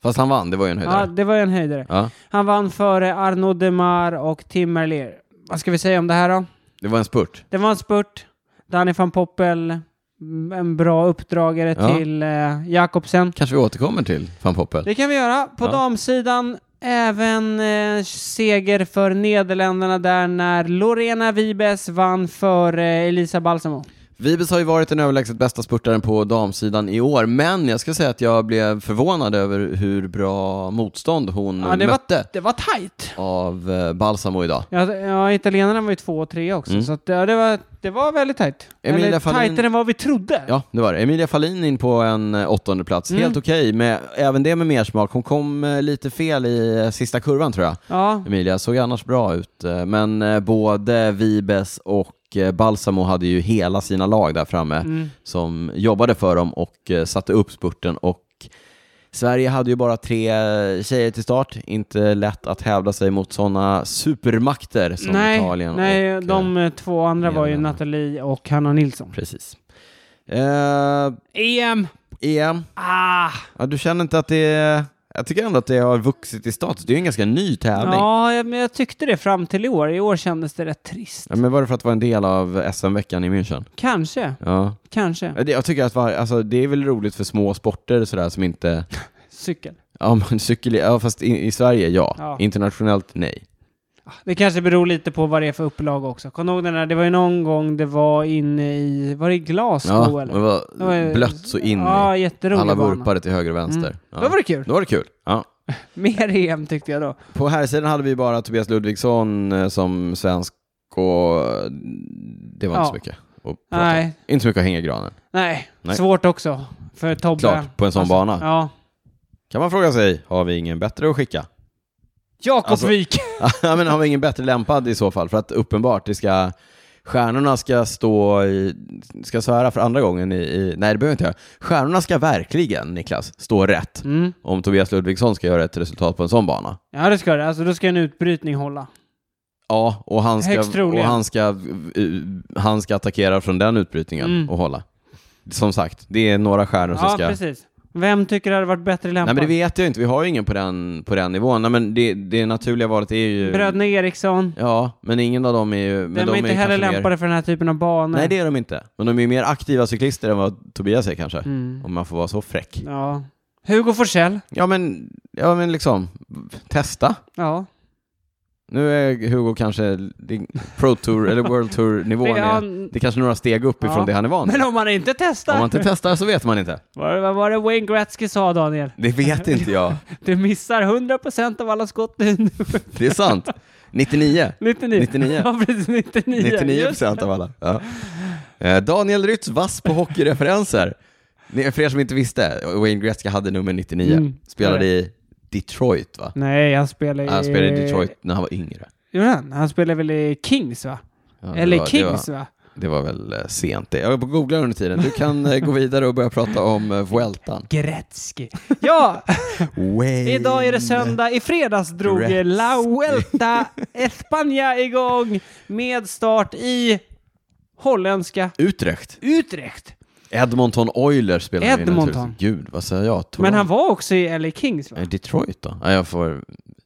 Fast han vann, det var ju en
Ja,
höjdare.
det var ju en höjdare.
Ja.
Han vann före Arnaud Demar och Tim Merlier. Vad ska vi säga om det här då?
Det var en spurt.
Det var en spurt. Danny van Poppel, mm, en bra uppdragare
Ja.
till eh, Jakobsen.
Kanske vi återkommer till van Poppel.
Det kan vi göra. På
Ja.
damsidan även eh, seger för Nederländerna där när Lorena Vibes vann för eh, Elisa Balsamo.
Vibes har ju varit den överlägset bästa spurtaren på damsidan i år, men jag ska säga att jag blev förvånad över hur bra motstånd hon
Ja, det, var,
mötte
det var tajt.
av eh, Balsamo idag.
Ja, ja, italienarna var ju två och tre också,
Mm.
så att, ja, det, var, det var väldigt tajt.
Emilia
Eller
Fahlin-
tajtare än vad vi trodde.
Ja, det var det. Emilia Fahlin in på en eh, åttonde plats.
Mm.
Helt okej, med, även det med mer smak. Hon kom eh, lite fel i eh, sista kurvan tror jag.
Ja.
Emilia såg annars bra ut, eh, men eh, både Vibes och eh, Balsamo hade ju hela sina lag där framme
Mm.
som jobbade för dem och eh, satte upp spurten och Sverige hade ju bara tre eh, tjejer till start, inte lätt att hävda sig mot sådana supermakter som
nej,
Italien
nej
och... eh,
de eh, två andra var ju
Nederländerna.
Nathalie och Hanna Nilsson.
Precis. Eh, E
EM!
EM,
Ah!
Ja, du känner inte att det är... Jag tycker ändå att det har vuxit i status. Det är ju en ganska ny tävling. Ja.
Ja, jag- men jag tyckte det fram till i år. I år kändes det rätt trist.
men var det för att vara en del av SM-veckan i München?
Kanske,
Ja.
kanske.
Det- Jag tycker att var, alltså, det är väl roligt för små sporter sådär som inte...
Cykel.
Ja, men cykel... Ja, fast i, i Sverige, ja.
Ja.
Internationellt, nej.
Det kanske beror lite på vad det är för upplag också. Kom ihåg den här, det var ju någon gång det var inne i, var det i Glasgow
Ja,
eller?
det var blött så in i.
Ja, jätterolig
Alla
bana.
vurpade till höger och vänster. Ja.
Då var det kul.
Då var det kul. Ja.
Mer EM tyckte jag då.
På här sidan hade vi bara Tobias Ludvigsson eh, som svensk och eh, det var
Ja.
inte så mycket att prata om.
Nej,
Inte så mycket att hänga i granen.
nej,
Nej.
Svårt också. För Tobbe.
Klart, på en sån
Alltså,
bana.
Ja.
Kan man fråga sig, har vi ingen bättre att skicka?
Jakob
Alltså-
Wik.
ja, men har vi ingen bättre lämpad i så fall? För att uppenbart, det ska, stjärnorna ska stå i, ska svära för andra gången i, i nej det behöver jag inte göra. Stjärnorna ska verkligen, Niklas, stå rätt
Mm.
om Tobias Ludvigsson ska göra ett resultat på en sån bana.
Ja, det ska det. Alltså, då ska en utbrytning hålla.
Ja, och han
Högst
ska, och
troligen.
han ska, eh, han ska attackera från den utbrytningen
Mm.
och hålla. Som sagt, det är några stjärnor som
Ja,
ska...
precis. Vem tycker det hade varit bättre
Nej
lämpad?
men det vet jag inte, vi har ju ingen på den, på den nivån. Nej men det, det naturliga valet är ju...
Brödne Eriksson.
Ja, men ingen av dem är ju... Men
de är inte
ju
heller
kanske
lämpade
Mer...
för den här typen av banor.
Nej, det är de inte. Men de är ju mer aktiva cyklister än vad Tobias är kanske.
Mm.
Om man får vara så fräck.
Ja. Hugo Forsell.
Ja, men, ja, men liksom, testa.
Ja.
Nu är Hugo kanske det- Pro Tour eller World Tour-nivån.
Det är
är,
han-
det är kanske några steg upp ifrån
Ja.
det han är van vid.
Men om man inte testar!
Om man inte testar så vet man inte.
Vad vad var det Wayne Gretzky sa, Daniel?
Det vet inte jag.
Du missar 100% av alla skott nu.
Det är sant. 99.
99.
99.
Ja, precis. 99.
99
Just.
procent av alla. Ja. Eh, Daniel Rytz, vass på hockeyreferenser. Ni- För er som inte visste, Wayne Gretzky hade nummer 99,
Mm.
spelade i Detroit va?
Nej, han spelar i...
Han spelade i Detroit när han var yngre.
Gjorde han? Han spelar väl i Kings, va?
Ja, det
Eller
var- det var-
Kings, va?
Det var väl eh, sent det. Jag googlar under tiden. Du kan eh, gå vidare och börja prata om eh, Vueltan.
Gretzky. Ja,
Wayne.
idag är det söndag. I fredags drog
Gretzky.
La Vuelta España igång med start i holländska
Utrecht.
Utrecht.
Edmonton Oilers spelade han i
Edmonton.
naturligtvis. Gud, vad säger jag? Toronto.
Men han var också i LA Kings, va?
Eh, Detroit då? Ja, jag får...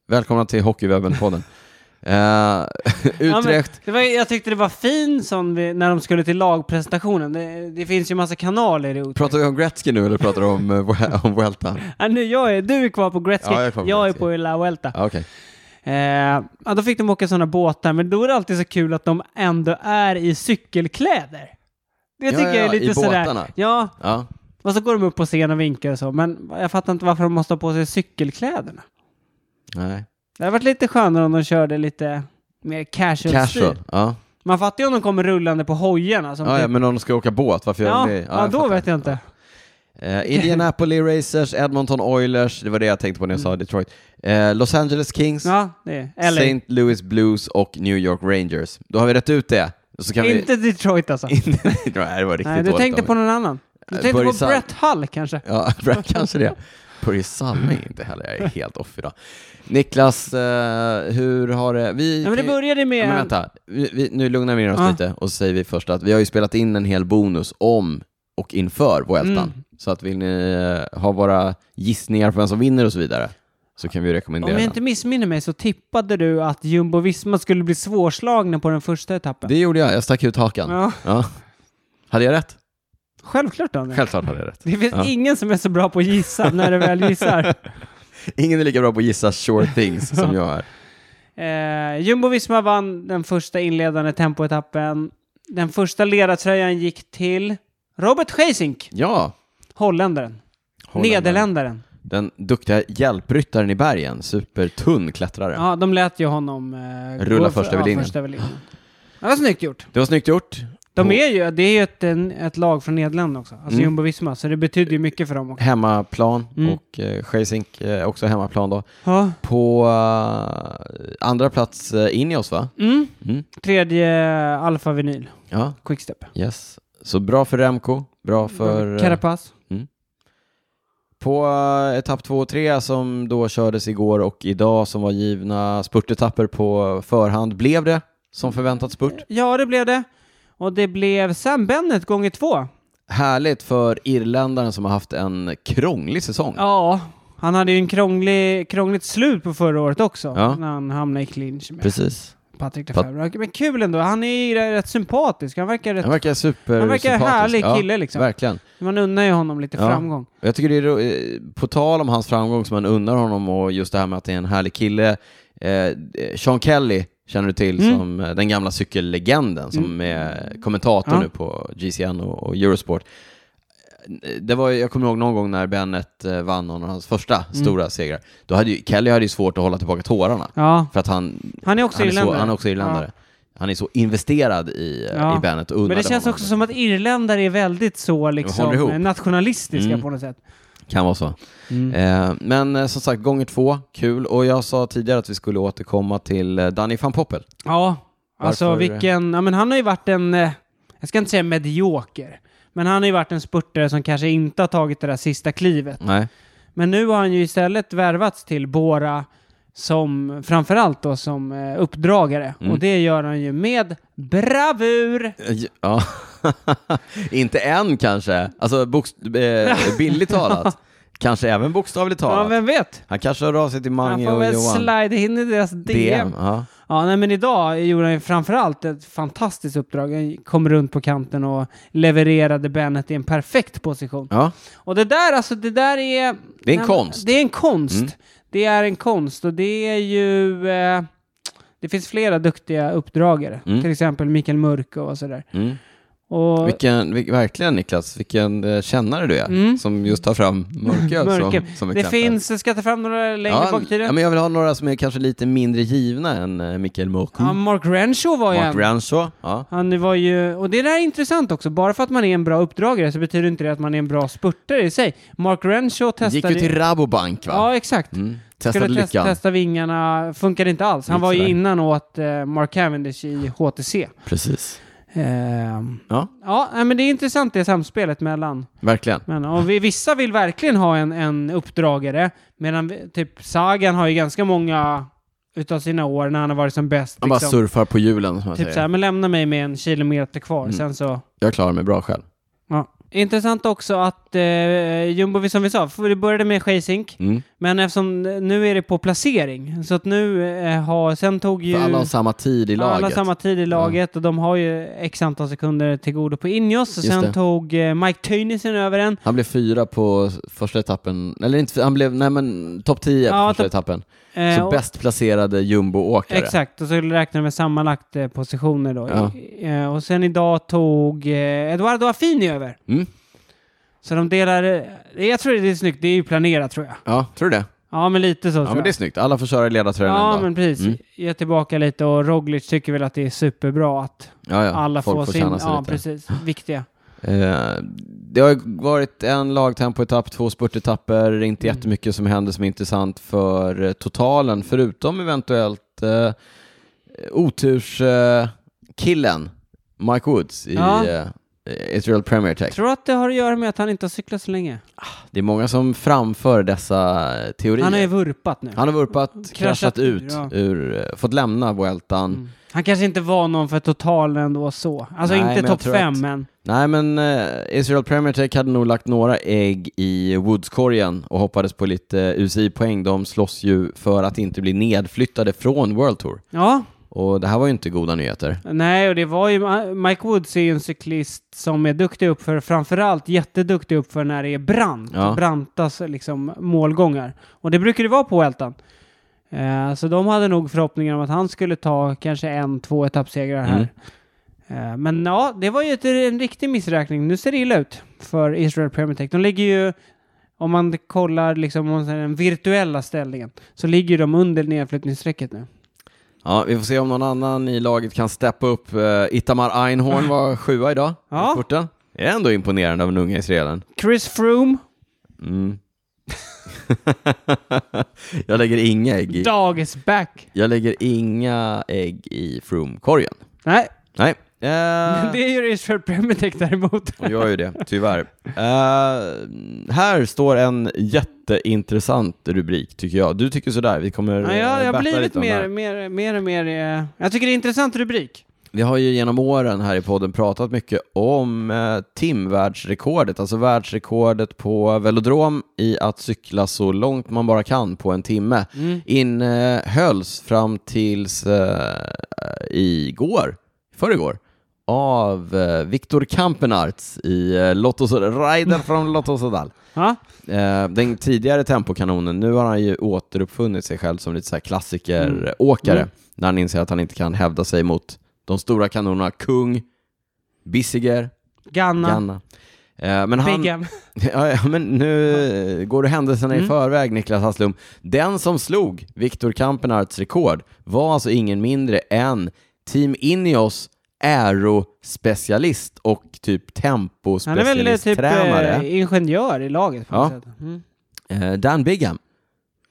Välkomna till Hockeywebben-podden. Eh,
Ja, men
Utrecht.
det var, jag tyckte det var fin sån vi- när de skulle till lagpresentationen. Det, det finns ju massa kanaler i Utrecht.
Pratar vi om Gretzky nu eller pratar du om, eh, Vu- om Vueltan?
Ja, nu, jag är, du är kvar på Gretzky,
Ja, jag
jag
är
är,
kvar på Gretzky.
på La Vuelta.
Ja, Okej.
Eh, ja, då fick de åka sådana båtar, men då är det alltid så kul att de ändå är i cykelkläder. Det
Ja,
tycker
ja,
jag
ja,
är lite
i båtarna.
sådär... Ja,
Ja.
och så går de upp på scen och vinkar och så, men jag fattar inte varför de måste ha på sig cykelkläderna.
Nej.
Det hade varit lite skönare om de körde lite mer casual,
Casual.
stil.
Ja.
Man fattar ju om de kommer rullande på hojarna. Som
Ja, ja,
typ-
men om de ska åka båt, varför gör
ja,
de det?
ja, då
fattar.
vet jag inte.
Eh, Indianapolis Racers, Edmonton Oilers, det var det jag tänkte på när jag sa Detroit. Eh, Los Angeles Kings,
Mm. Ja, det är LA.
St. Louis Blues och New York Rangers. Då har vi rätt ut det. Så kan
Inte Detroit alltså.
Vi... Inte... Nej, det var riktigt
Nej, du
dåligt
tänkte
av
på
mig.
någon annan. Du
Eh,
tänkte
Börje
på
Salm.
Brett Hull kanske.
Ja, bra, kanske det. Börje Salming inte heller, jag är helt off idag. Niklas, eh, hur har det... Vi
Ja, men det
kan ju-
började med...
Ja, men vänta, vi, vi, nu lugnar vi ner oss
Ja.
lite och så säger vi först att vi har ju spelat in en hel bonus om och inför Vueltan.
Mm.
Så att vill ni eh, ha våra gissningar på vem som vinner och så vidare så kan vi rekommendera
Om jag
den.
inte missminner mig så tippade du att Jumbo Visma skulle bli svårslagna på den första etappen.
Det gjorde jag, jag stack ut hakan. Ja.
Ja,
Hade jag rätt?
självklart Daniel.
Självklart hade jag rätt.
Det finns
Ja.
ingen som är så bra på att gissa när du väl gissar.
Ingen är lika bra på att gissa sure things som jag är.
Eh, Jumbo Visma vann den första inledande tempoetappen. Den första ledartröjan gick till Robert Geisink,
Ja,
holländaren.
Holländaren.
Nederländaren.
den duktiga hjälpryttaren i bergen, supertunn klättrare.
Ja, de lät ju honom eh,
Rulla
gå
först över linjen.
Ja, först över linjen. Det var snyggt gjort.
Det var snyggt gjort.
De
Och
är ju, det är ju ett, en, ett lag från Nederländerna också, alltså
Mm.
Jumbo Visma, så det betyder ju mycket för dem också.
Hemmaplan
Mm.
och eh, Geisink eh, också hemmaplan då.
Ja.
På eh, andra plats eh, in i oss va?
Mm.
Mm.
Tredje Alfa Vinyl,
Ja,
Quickstep.
yes. Så bra för Remco, bra för... eh,
Carapaz.
På eh, etapp 2 och 3 som då kördes igår och idag som var givna spurtetapper på förhand, blev det som förväntat spurt?
Ja, det blev det. Och det blev Sam Bennett gånger två.
Härligt för irländaren som har haft en krånglig säsong.
Ja, han hade ju en krånglig, krångligt slut på förra året också,
Ja.
när han hamnade i clinch med
Precis.
Patrik Lefebvre. Men kul ändå, han är ju rätt sympatisk, han verkar rätt...
Han verkar super
Han verkar härlig
sympatisk.
kille, liksom.
Verkligen.
Man unnar ju honom lite
Ja.
framgång.
Jag tycker det är ro- eh, på tal om hans framgång som man undrar honom och just det här med att det är en härlig kille. Eh, Sean Kelly känner du till
Mm.
som eh, den gamla cykellegenden som är kommentator
Ja.
nu på GCN och, och Eurosport. Eh, Det var, ju- jag kommer ihåg någon gång när Bennett eh, vann någon av hans första
Mm.
stora segrar. Då hade ju, Kelly hade ju svårt att hålla tillbaka tårarna.
Ja,
För att han,
han är också
han, är, så,
irländare.
han är också irländare. Han är så investerad i, eh,
Ja.
i Bennett och
Men
unnade
det känns
honom.
också som att irländare är väldigt så
håller ihop.
liksom nationalistiska
Mm.
på något sätt.
Kan vara så.
Mm.
Eh, men eh, som sagt, gånger två, kul. Och jag sa tidigare att vi skulle återkomma till eh, Danny van Poppel.
Ja, alltså
Varför-
vilken... Ja, men han har ju varit en... eh, Jag ska inte säga medioker, men han har ju varit en spurtare som kanske inte har tagit det där sista klivet.
Nej.
Men nu har han ju istället värvats till Bora som framförallt då som eh, uppdragare
Mm.
och det gör han ju med bravur.
Eh, Ja. Inte än kanske. Alltså bokst- eh, billigt talat. kanske även bokstavligt
Ja,
talat.
vem vet?
Han kanske hör av sig till
Han
Mange
får
och
väl
Johan.
slide in i deras DM.
Ja.
Ja, nej, men idag gjorde han ju framförallt ett fantastiskt uppdrag. Han kom runt på kanten och levererade Bennett i en perfekt position.
ja.
Och det där, alltså det där är...
Det är en
Nej, men
konst.
Det är en konst.
Mm.
Det är en konst och det är ju... Eh, det finns flera duktiga uppdragare.
Mm.
Till exempel Mikael Mörk och sådär.
Mm.
Och
Vilken, vil- verkligen Niklas, vilken eh, kännare du är
Mm.
som just tar fram mörköl
mörker.
som, som
det
exempel.
finns, ska jag ta fram några längre
ja,
bak i
ja,
tiden?
men jag vill ha några som är kanske lite mindre givna än eh, Mikael Mörkö.
Ja, Mark Renshaw var ju
Mark
en.
Rancho. Ja.
Han var ju, och det där är intressant också, bara för att man är en bra uppdragare så betyder inte det att man är en bra spurtare i sig. Mark Renshaw
Gick
testade...
ju till Rabobank va?
Ja, exakt.
Mm.
Skulle
Testade
testa,
lyckan.
testa vingarna, funkade inte alls. Han
Inte
var ju
sådär.
innan åt eh, Mark Cavendish i HTC.
Precis.
Ehm,
Ja,
ja, nej, men det är intressant det samspelet mellan.
verkligen.
Men, och vi, vissa vill verkligen ha en, en uppdragare, medan vi, typ Sagan har ju ganska många utav sina år när han har varit som bäst.
Han bara
Liksom,
surfar på hjulen som man
typ
säger.
så här, men lämna mig med en kilometer kvar,
Mm.
sen så...
Jag klarar mig bra själv.
Ja. Intressant också att eh, Jumbo, som vi sa, för det började med Scheisink,
Mm.
men eftersom nu är det på placering, så att nu eh, har, sen tog ju...
För alla har samma tid i
Ja,
laget.
Alla samma tid i laget och de har ju x antal sekunder till godo på Ineos. Och
Just
sen
det.
tog eh, Mike Tönnissen över en.
Han blev fyra på första etappen, eller inte, han blev, nej men topp 10
Ja,
på första
topp-
etappen.
Eh,
Så
och-
bäst placerade jumboåkare.
Exakt, och så räknar de med sammanlagt eh, positioner då.
Ja.
Eh, och sen idag tog eh, Eduardo Affini över.
Mm.
Så de delar... Eh, jag tror det är snyggt, det är ju planerat tror jag.
Ja, tror du det?
Ja, men lite så
Ja
tror
men det är
jag.
snyggt, alla får köra i ledartröjan en
Alltså- Ja,
dag.
men precis.
Mm.
Ge tillbaka lite och Roglic tycker väl att det är superbra att
ja, ja.
alla
Folk
får,
får
sin...
känna sig
ja,
lite.
precis. Viktiga.
Eh, det har ju varit en lagtempoetapp, två spurtetapper, inte
Mm.
jättemycket som händer som är intressant för eh, totalen, förutom eventuellt eh, oturskillen eh, killen Mike Woods i
Ja.
eh, Israel Premier Tech.
Tror att det har att göra med att han inte har cyklat så länge.
Det är många som framför dessa eh, teorier.
Han har ju vurpat nu.
Han har vurpat, kraschat,
ur,
ut,
ja.
ur, eh, fått lämna Vueltan.
Mm. Han kanske inte var någon för totalen ändå så. Alltså
Nej, men
inte
jag
topp
tror
fem,
att-
men...
Nej, men eh, Israel Premier Tech hade nog lagt några ägg i Woods-korgen och hoppades på lite eh, UCI-poäng. De slåss ju för att inte bli nedflyttade från World Tour.
Ja,
Och det här var ju inte goda nyheter.
nej, och det var ju... Mike Woods är ju en cyklist som är duktig uppför, framförallt jätteduktig uppför när det är brant.
Ja.
Branta liksom, målgångar. Och det brukar det vara på Eltan. Eh, så de hade nog förhoppningar om att han skulle ta kanske en, två etappsegrar här. Eh, Men ja, det var ju ett, en riktig missräkning. Nu ser det illa ut för Israel Premier Tech. De ligger ju, om man kollar liksom om man säger den virtuella ställningen, så ligger de under nedflyttningsstrecket nu.
Ja, vi får se om någon annan i laget kan steppa upp. Eh, Itamar Einhorn var sjua idag
Ja.
i spurten. Det är ändå imponerande av den unga israelen.
Chris Froome,
Mm. jag lägger inga ägg i,
dog is back.
jag lägger inga ägg i Froome-korgen.
Nej,
Nej. Eh.
det gör Israel Premier Tech däremot.
Och gör ju det, tyvärr. Eh, här står en jätteintressant rubrik, tycker jag. Du tycker sådär, vi kommer
Ja,
eh,
jag jag
battla
har blivit
lite om det
mer,
här.
mer, mer och mer... eh, Jag tycker det är en intressant rubrik.
Vi har ju genom åren här i podden pratat mycket om eh, timvärldsrekordet, alltså världsrekordet på velodrom i att cykla så långt man bara kan på en timme. Innehölls fram tills eh, igår, förrgår, av eh, Viktor Kampenarts i eh, Lotto Sodal, Rider från Lotto Sodal.
Ja,
Eh, den tidigare tempokanonen, nu har han ju återuppfunnit sig själv som lite så här klassikeråkare
Mm.
när han inser att han inte kan hävda sig mot de stora kanonerna Kung, Bissiger,
Ganna,
Ganna. Eh, men, han,
Bigham.
ja, ja, men nu eh, går du händelserna i
Mm.
förväg Niklas Hasslum. Den som slog Viktor Kampenarts rekord var alltså ingen mindre än Team Ineos aerospecialist och typ
Han är väl eh, typ
tempospecialisttränare.
eh, ingenjör i laget på
Ja.
något sätt. Mm.
Eh, Dan Bigham,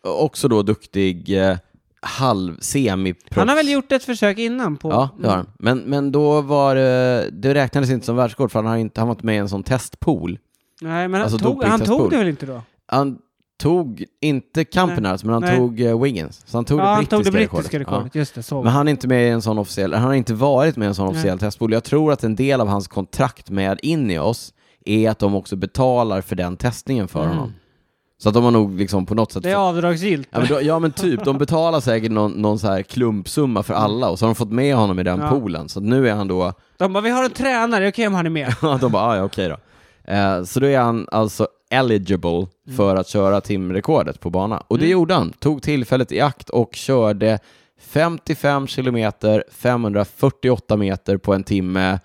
också då duktig eh, halv semiproffs.
Han har väl gjort ett försök innan på...
Ja, det har han. Men, men då var det, det räknades inte som världsrekord för han, har inte, han var inte med i en sån testpool.
Mm. Nej, men
Alltså
han, tog, han
dopingtestpool.
tog det väl inte då?
Han tog inte Campenards, men han
Nej.
tog eh, Wiggins. Så han tog,
ja,
det,
han
brittiska
tog det brittiska
rekordet.
rekordet. Just det,
Ja.
så.
Men han är inte med i en sån officiell, han har inte varit med i en sån
Nej.
officiell testpool. Jag tror att en del av hans kontrakt med Ineos är att de också betalar för den testningen för
Mm.
honom. Så att de har nog liksom på något sätt
Det är
fått-
avdragsgillt.
Ja men, då, ja men typ, de betalar säkert någon, någon så här klumpsumma för alla och så har de fått med honom i den
Ja.
poolen. Så att nu är han då,
De bara, vi har en tränare, okej om han är med.
Ja, de bara, "Ah, ja okej då. Eh, så då är han alltså eligible
Mm.
för att köra timrekordet på bana. Och det gjorde han, tog tillfället i akt och körde 55 kilometer, 548 meter på en timme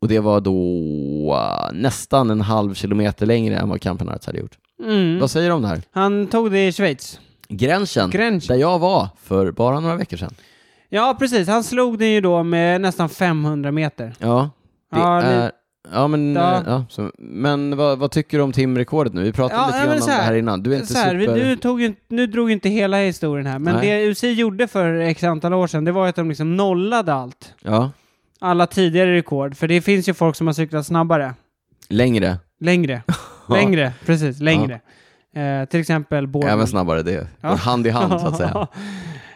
Och det var då eh, nästan en halv kilometer längre än vad Campenarts hade gjort.
Mm.
Vad säger du om det här?
Han tog det i Schweiz.
Mm. Gränsen,
Gränsen.
där jag var för bara några veckor sedan.
Ja, precis. Han slog den ju då med nästan 500 meter.
Ja, det
Ja, li-
är... Ja, men,
Ja.
ja. så, men vad, vad tycker du om timrekordet nu? Vi pratade
Ja,
lite
nej, men
grann om
så
det
här-
här innan. Du är inte
så här, vi-
super...
nu, tog ju, inte- nu drog ju inte hela historien här, men
Nej.
det UCI gjorde för x antal år sedan, det var ju att de liksom nollade allt.
Ja,
Alla tidigare rekord, för det finns ju folk som har cyklat snabbare.
längre.
Längre. längre, precis. Längre. Eh, till exempel Born.
Även snabbare. Det går
Ja.
hand i hand, så att säga.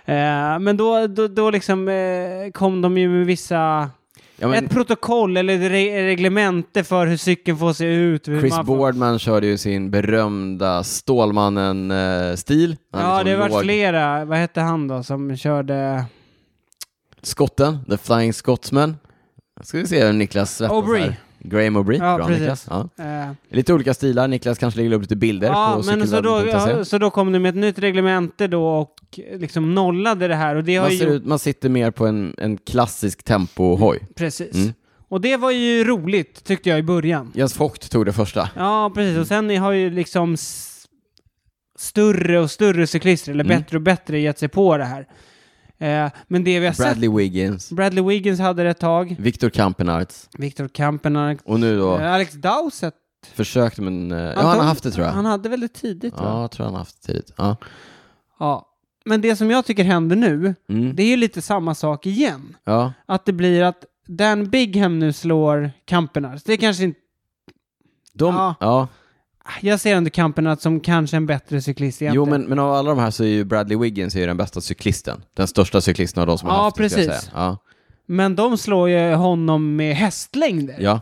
eh, men då, då, då liksom eh, kom de ju med vissa...
Ja, men
Ett protokoll eller ett re- reglemente för hur cykeln får se ut. hur
Chris
man får-
Boardman körde ju sin berömda eh, Stålmannen-stil.
Ja, det har varit
liksom låg
flera. Vad hette han då som körde...
Skotten, The Flying Scotsman. Ska vi se hur Niklas svettas
Aubrey.
här. Graham O'Bree.
Ja,
Bra
precis.
Niklas. Ja.
Eh,
Lite olika stilar. Niklas kanske lägger upp lite bilder på
men så, då, ja,
cykelwebben.se.
så då kom du med ett nytt reglemente då och liksom nollade det här. Och det har
Man,
ju
ser
gjort,
ut, man sitter mer på en, en klassisk tempohoj.
precis.
Mm.
Och det var ju roligt tyckte jag i början.
Jens Vogt tog det första.
Ja, precis. Och sen har ju liksom s- större och större cyklister, eller
Mm.
bättre och bättre, gett sig på det här. Eh, men det vi har sett,
Bradley Wiggins,
Bradley Wiggins hade det ett tag,
Victor Campenarts
Viktor Kampenar,
och nu då
eh, Alex Dowsett.
försökt men... eh, Ja, han har
tog-
haft det tror jag.
Han hade väldigt tidigt, va?
Ja, jag tror han har haft det tidigt. Ja.
ja. Men det som jag tycker händer nu,
Mm.
det är ju lite samma sak igen.
Ja.
att det blir att Dan Bigham nu slår Kampenarts. Det är kanske inte...
De,
Ja.
ja.
Jag ser ändå Kampenarts som kanske en bättre cyklist egentligen.
Jo, men, men av alla de här så är ju Bradley Wiggins är ju den bästa cyklisten. Den största cyklisten av de som
Ja,
har haft det, ska jag
precis.
säga. Ja,
Men de slår ju honom med hästlängder.
ja.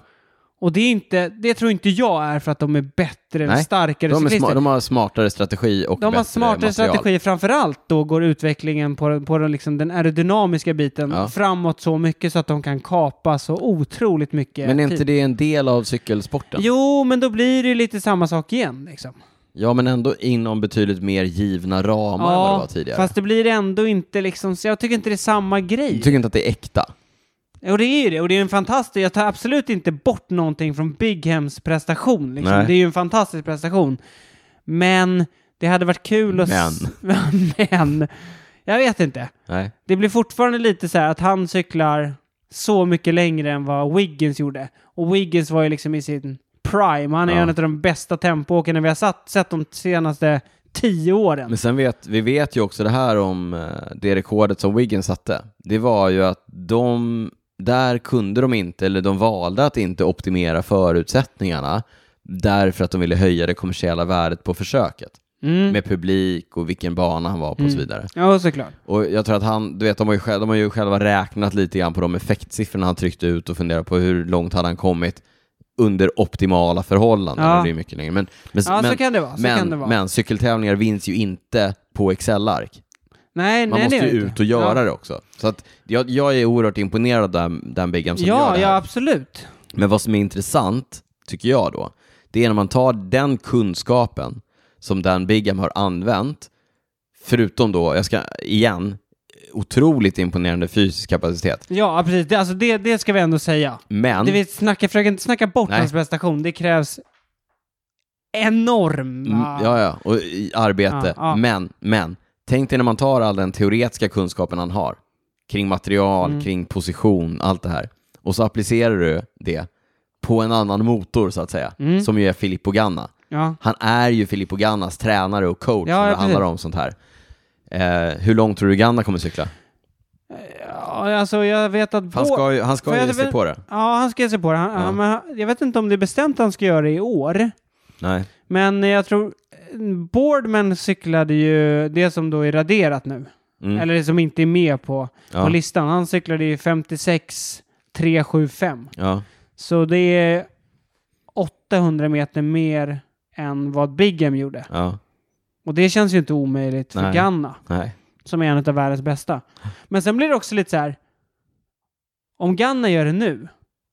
Och det, är inte, det tror inte jag är för att de är bättre eller
Nej,
starkare
De, är
cyklister.
sma- de har smartare strategi och
De har
bättre
smartare
material.
strategier, framförallt då går utvecklingen på, på den, liksom, den aerodynamiska biten
Ja.
framåt så mycket så att de kan kapa så otroligt mycket
Men är inte
tid.
det en del av cykelsporten?
typ. Jo, men då blir det ju lite samma sak igen. Liksom.
Ja, men ändå inom betydligt mer givna ramar än vad det var tidigare.
fast det blir ändå inte liksom, så jag tycker inte det är samma grej.
Du tycker inte att det är äkta?
Och det är ju det, och det är en fantastisk, jag tar absolut inte bort någonting från Bighems prestation. Liksom.
Nej.
Det är ju en fantastisk prestation. Men det hade varit kul att... s- Men. Jag vet inte.
Nej.
Det blir fortfarande lite så här att han cyklar så mycket längre än vad Wiggins gjorde. Och Wiggins var ju liksom i sin prime. Han är
Ja.
en av de bästa tempoåkarna vi har satt, sett de senaste tio åren.
Men sen vet vi vet ju också det här om eh, det rekordet som Wiggins satte. Det var ju att de, där kunde de inte, eller de valde att inte optimera förutsättningarna därför att de ville höja det kommersiella värdet på försöket
Mm.
med publik och vilken bana han var på och så vidare.
Ja, såklart.
Och jag tror att han, du vet, de har, ju själv, de har ju själva räknat lite grann på de effektsiffrorna han tryckte ut och funderat på hur långt hade han kommit under optimala förhållanden.
Ja.
Och det är mycket längre. Men, men,
Ja,
men,
så kan det vara. Så
men,
kan det vara.
men cykeltävlingar vinns ju inte på Excel-ark.
nej,
Man
nej,
måste
det
ju
gör det
ut
inte.
och göra
ja.
det också. Så att jag, jag är oerhört imponerad av Dan, Dan Bigham som gör
Ja,
det
ja,
här.
absolut.
Men vad som är intressant, tycker jag då, det är när man tar den kunskapen som Dan Bigham har använt, förutom då, jag ska igen, otroligt imponerande fysisk kapacitet.
Ja, precis. Det, alltså det, det ska vi ändå säga.
Men,
Det vi snacka, försök inte snacka bort
Nej.
hans prestation. Det krävs
mm,
enorma...
ja, ja, och i arbete.
Ja, ja.
Men, men, tänk dig när man tar all den teoretiska kunskapen han har kring material,
Mm.
kring position, allt det här. Och så applicerar du det på en annan motor, så att säga,
Mm.
som ju är Filippo Ganna.
Ja.
Han är ju Filippo Gannas tränare och coach
Ja,
när
ja,
det handlar
precis.
om sånt här. Eh, hur långt tror du Ganna kommer cykla?
ja, alltså jag vet att...
Han
Bå-
ska ju, han ska
Får jag
ju ge sig
väl-
på det.
Ja, han ska ge sig på det. Han, han, men jag vet inte om det är bestämt att han ska göra det i år.
Nej.
Men jag tror... Boardman cyklade ju det som då är raderat nu.
Mm.
Eller det som inte är med på,
Ja.
på listan. Han cyklade ju 56 375.
Ja.
Så det är 800 meter mer än vad Bigham gjorde.
Ja.
Och det känns ju inte omöjligt för
Nej.
Ganna,
Nej.
som är en av världens bästa. Men sen blir det också lite så här, om Ganna gör det nu,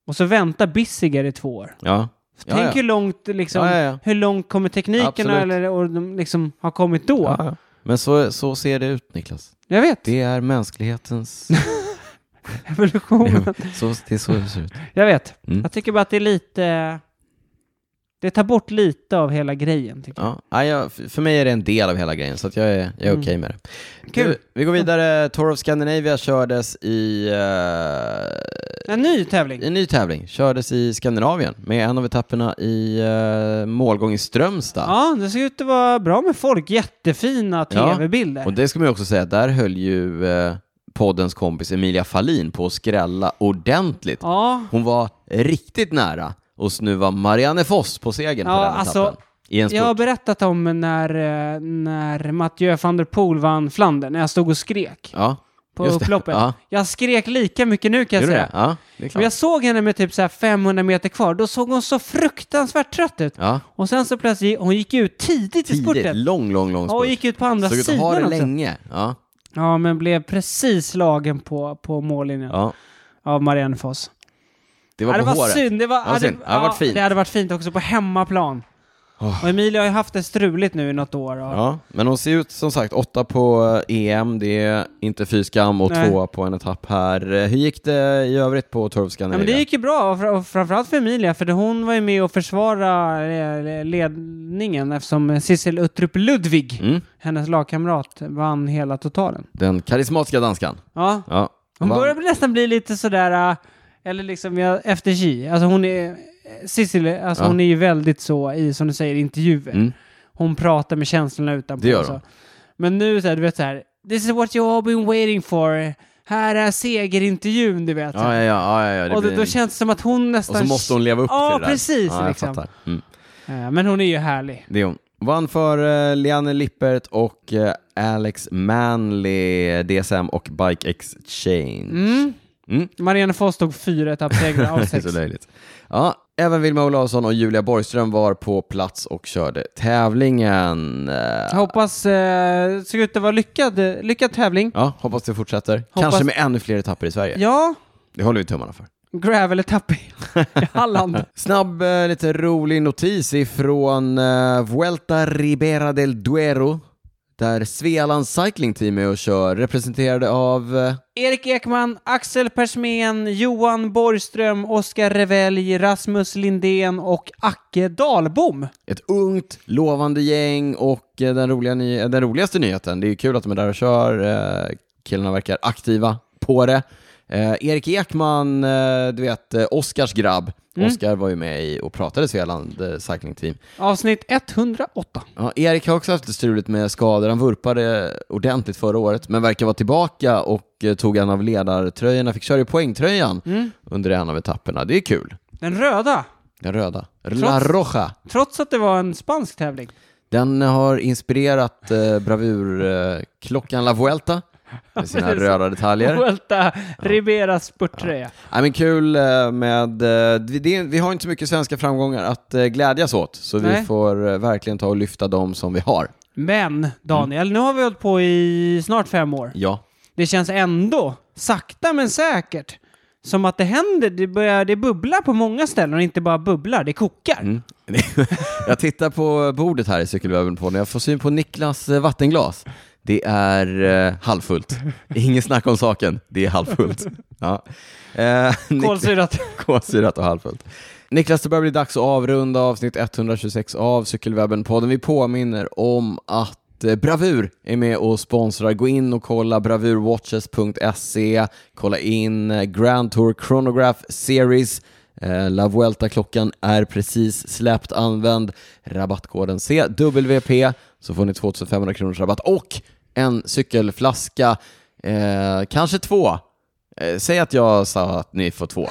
och så väntar Bissiger i två år.
Ja. Ja,
Tänk
ja.
hur långt, liksom,
Ja, ja, ja.
hur långt kommer teknikerna
Absolut.
eller, och de liksom har kommit då?
Ja, ja. Men så, så ser det ut, Niklas.
Jag vet.
Det är mänsklighetens
Evolutionen.
Så, det är så det ser ut.
Jag vet.
Mm.
Jag tycker bara att det är lite... Det tar bort lite av hela grejen. Tycker
Ja, nej, jag, f- för mig är det en del av hela grejen, så att jag är, jag är okej
Mm.
med det.
Kul.
Du, Vi går vidare. Tour of Scandinavia kördes i eh,
jag. En ny tävling.
en ny tävling. Kördes i Skandinavien med en av etapperna i eh, målgång i Strömstad.
Ja, det ser ut att vara bra med folk. Jättefina
Ja.
tv-bilder.
Och det ska man ju också säga, där höll ju eh, poddens kompis Emilia Fallin på att skrälla ordentligt.
Ja,
Hon var riktigt nära att snuva Marianne Foss på segern på
Ja,
den
alltså,
etappen. I en
jag har
spurt.
berättat om när, eh, när Mathieu van der Poel vann Flandern, när jag stod och skrek
Ja,
på
just det.
upploppet.
Ja.
Jag skrek lika mycket nu kan jag
gjorde
säga.
det? Ja, det är
Men
klart.
jag såg henne med typ så här 500 meter kvar, då såg hon så fruktansvärt trött ut.
Ja,
Och sen så plötsligt, hon gick ut tidigt i
tidigt.
spurten.
Lång, lång, lång
Ja, och
spurt.
gick ut på andra
Såg ut att ha
sidan
det
också.
länge. Ja,
Ja, men blev precis lagen på, på mållinjen
ja.
av Marianne Foss.
Det var
Ja,
på
det var
håret.
synd. Det, var,
var synd. Det hade varit fint.
det hade varit fint också på hemmaplan.
Åh.
Och Emilia har ju haft det struligt nu i något år. Och,
Ja, men hon ser ut som sagt åtta på eh, EM, det är inte fy skam, och
Nej.
tvåa på en etapp här. Eh, Hur gick det i övrigt på Torv
Ja,
Scandinavia?
men det gick ju bra, och fr- och framförallt för Emilia, för det- hon var ju med och försvara eh, ledningen eftersom Sissel Uttrup Ludvig,
mm.
hennes lagkamrat, vann hela totalen.
Den karismatiska danskan.
Ja,
Ja.
hon
Vann.
börjar bli- nästan bli lite sådär, eh, eller liksom ja, efter G. Alltså hon är, eh, Sissel, alltså
Ja.
hon är ju väldigt så i, som du säger, intervjuer.
Mm.
Hon pratar med känslorna utanpå.
Det gör
så.
hon.
Men nu så här, du vet så här, this is what you all been waiting for. Här är segerintervjun, du vet.
Ja, ja, ja, ja, ja, det
och då,
blir
då
en-
känns det som att hon nästan...
och så måste hon leva upp
Ja,
till det där.
precis,
jag
liksom.
fattar. Mm.
Eh, Men hon är ju härlig.
Det är hon. Vann för eh, Liane Lippert och eh, Alex Manley, DSM och Bike Exchange.
Mm.
Mm.
Marianne Foss tog fyra etappsegrar av
Det är
sex.
så löjligt. Ja, även Vilma Olausson och Julia Borgström var på plats och körde tävlingen. Eh,
Jag hoppas, eh, såg ut att vara lyckad, lyckad tävling.
Ja, hoppas det fortsätter.
Hoppas-
Kanske med ännu fler etapper i Sverige.
Ja,
Det håller vi tummarna för.
gravel-etapp i i Halland.
Snabb, eh, lite rolig notis ifrån eh, Vuelta Ribera del Duero, där Svealands Cycling Team är och kör, representerade av eh,
Erik Ekman, Axel Persmen, Johan Borgström, Oskar Revelj, Rasmus Lindén och Acke Dahlbom.
ett ungt, lovande gäng och eh, den, roliga ny- eh, den roligaste nyheten, det är ju kul att de är där och kör, eh, killarna verkar aktiva på det. Eh, Erik Ekman, eh, du vet, eh, Oskars grabb, Oskar var ju med i och pratade Svealand eh, Cycling Team.
Avsnitt 108.
Ja, Erik har också haft lite struligt med skador. Han vurpade ordentligt förra året, men verkar vara tillbaka och eh, tog en av ledartröjorna, fick köra i poängtröjan under en av etapperna. Det är kul.
Den röda,
Den röda. La Roja.
trots att det var en spansk tävling.
Den har inspirerat eh, bravurklockan eh, klockan La Vuelta med sina
precis.
röda detaljer.
Vuelta Riberas spurttröja. Ja.
Nej, men kul eh, med... eh, Vi, det, vi har inte så mycket svenska framgångar att eh, glädjas åt, så vi
Nej.
får eh, verkligen ta och lyfta dem som vi har.
Men, Daniel, nu har vi hållit på i snart fem år.
Ja.
Det känns ändå, sakta men säkert, som att det händer. Det, börjar, det bubblar på många ställen och inte bara bubblar, det kokar.
Mm. jag tittar på bordet här i Cykelwebben-podden. Jag får syn på Niklas eh, vattenglas. Det är eh, halvfullt. Inget snack om saken. Det är halvfullt. Ja. Eh, Nik-
Kolsyrat.
Kolsyrat och halvfullt. Niklas, det börjar bli dags att avrunda avsnitt 126 av Cykelwebben-podden. Vi påminner om att eh, Bravur är med och sponsrar. Gå in och kolla bravurwatches.se. Kolla in eh, Grand Tour Chronograph Series. Eh, La Vuelta-klockan är precis släppt. Använd rabattkoden CWP så får ni 2500 kronors rabatt och en cykelflaska, eh, kanske två. Eh, säg att jag sa att ni får två.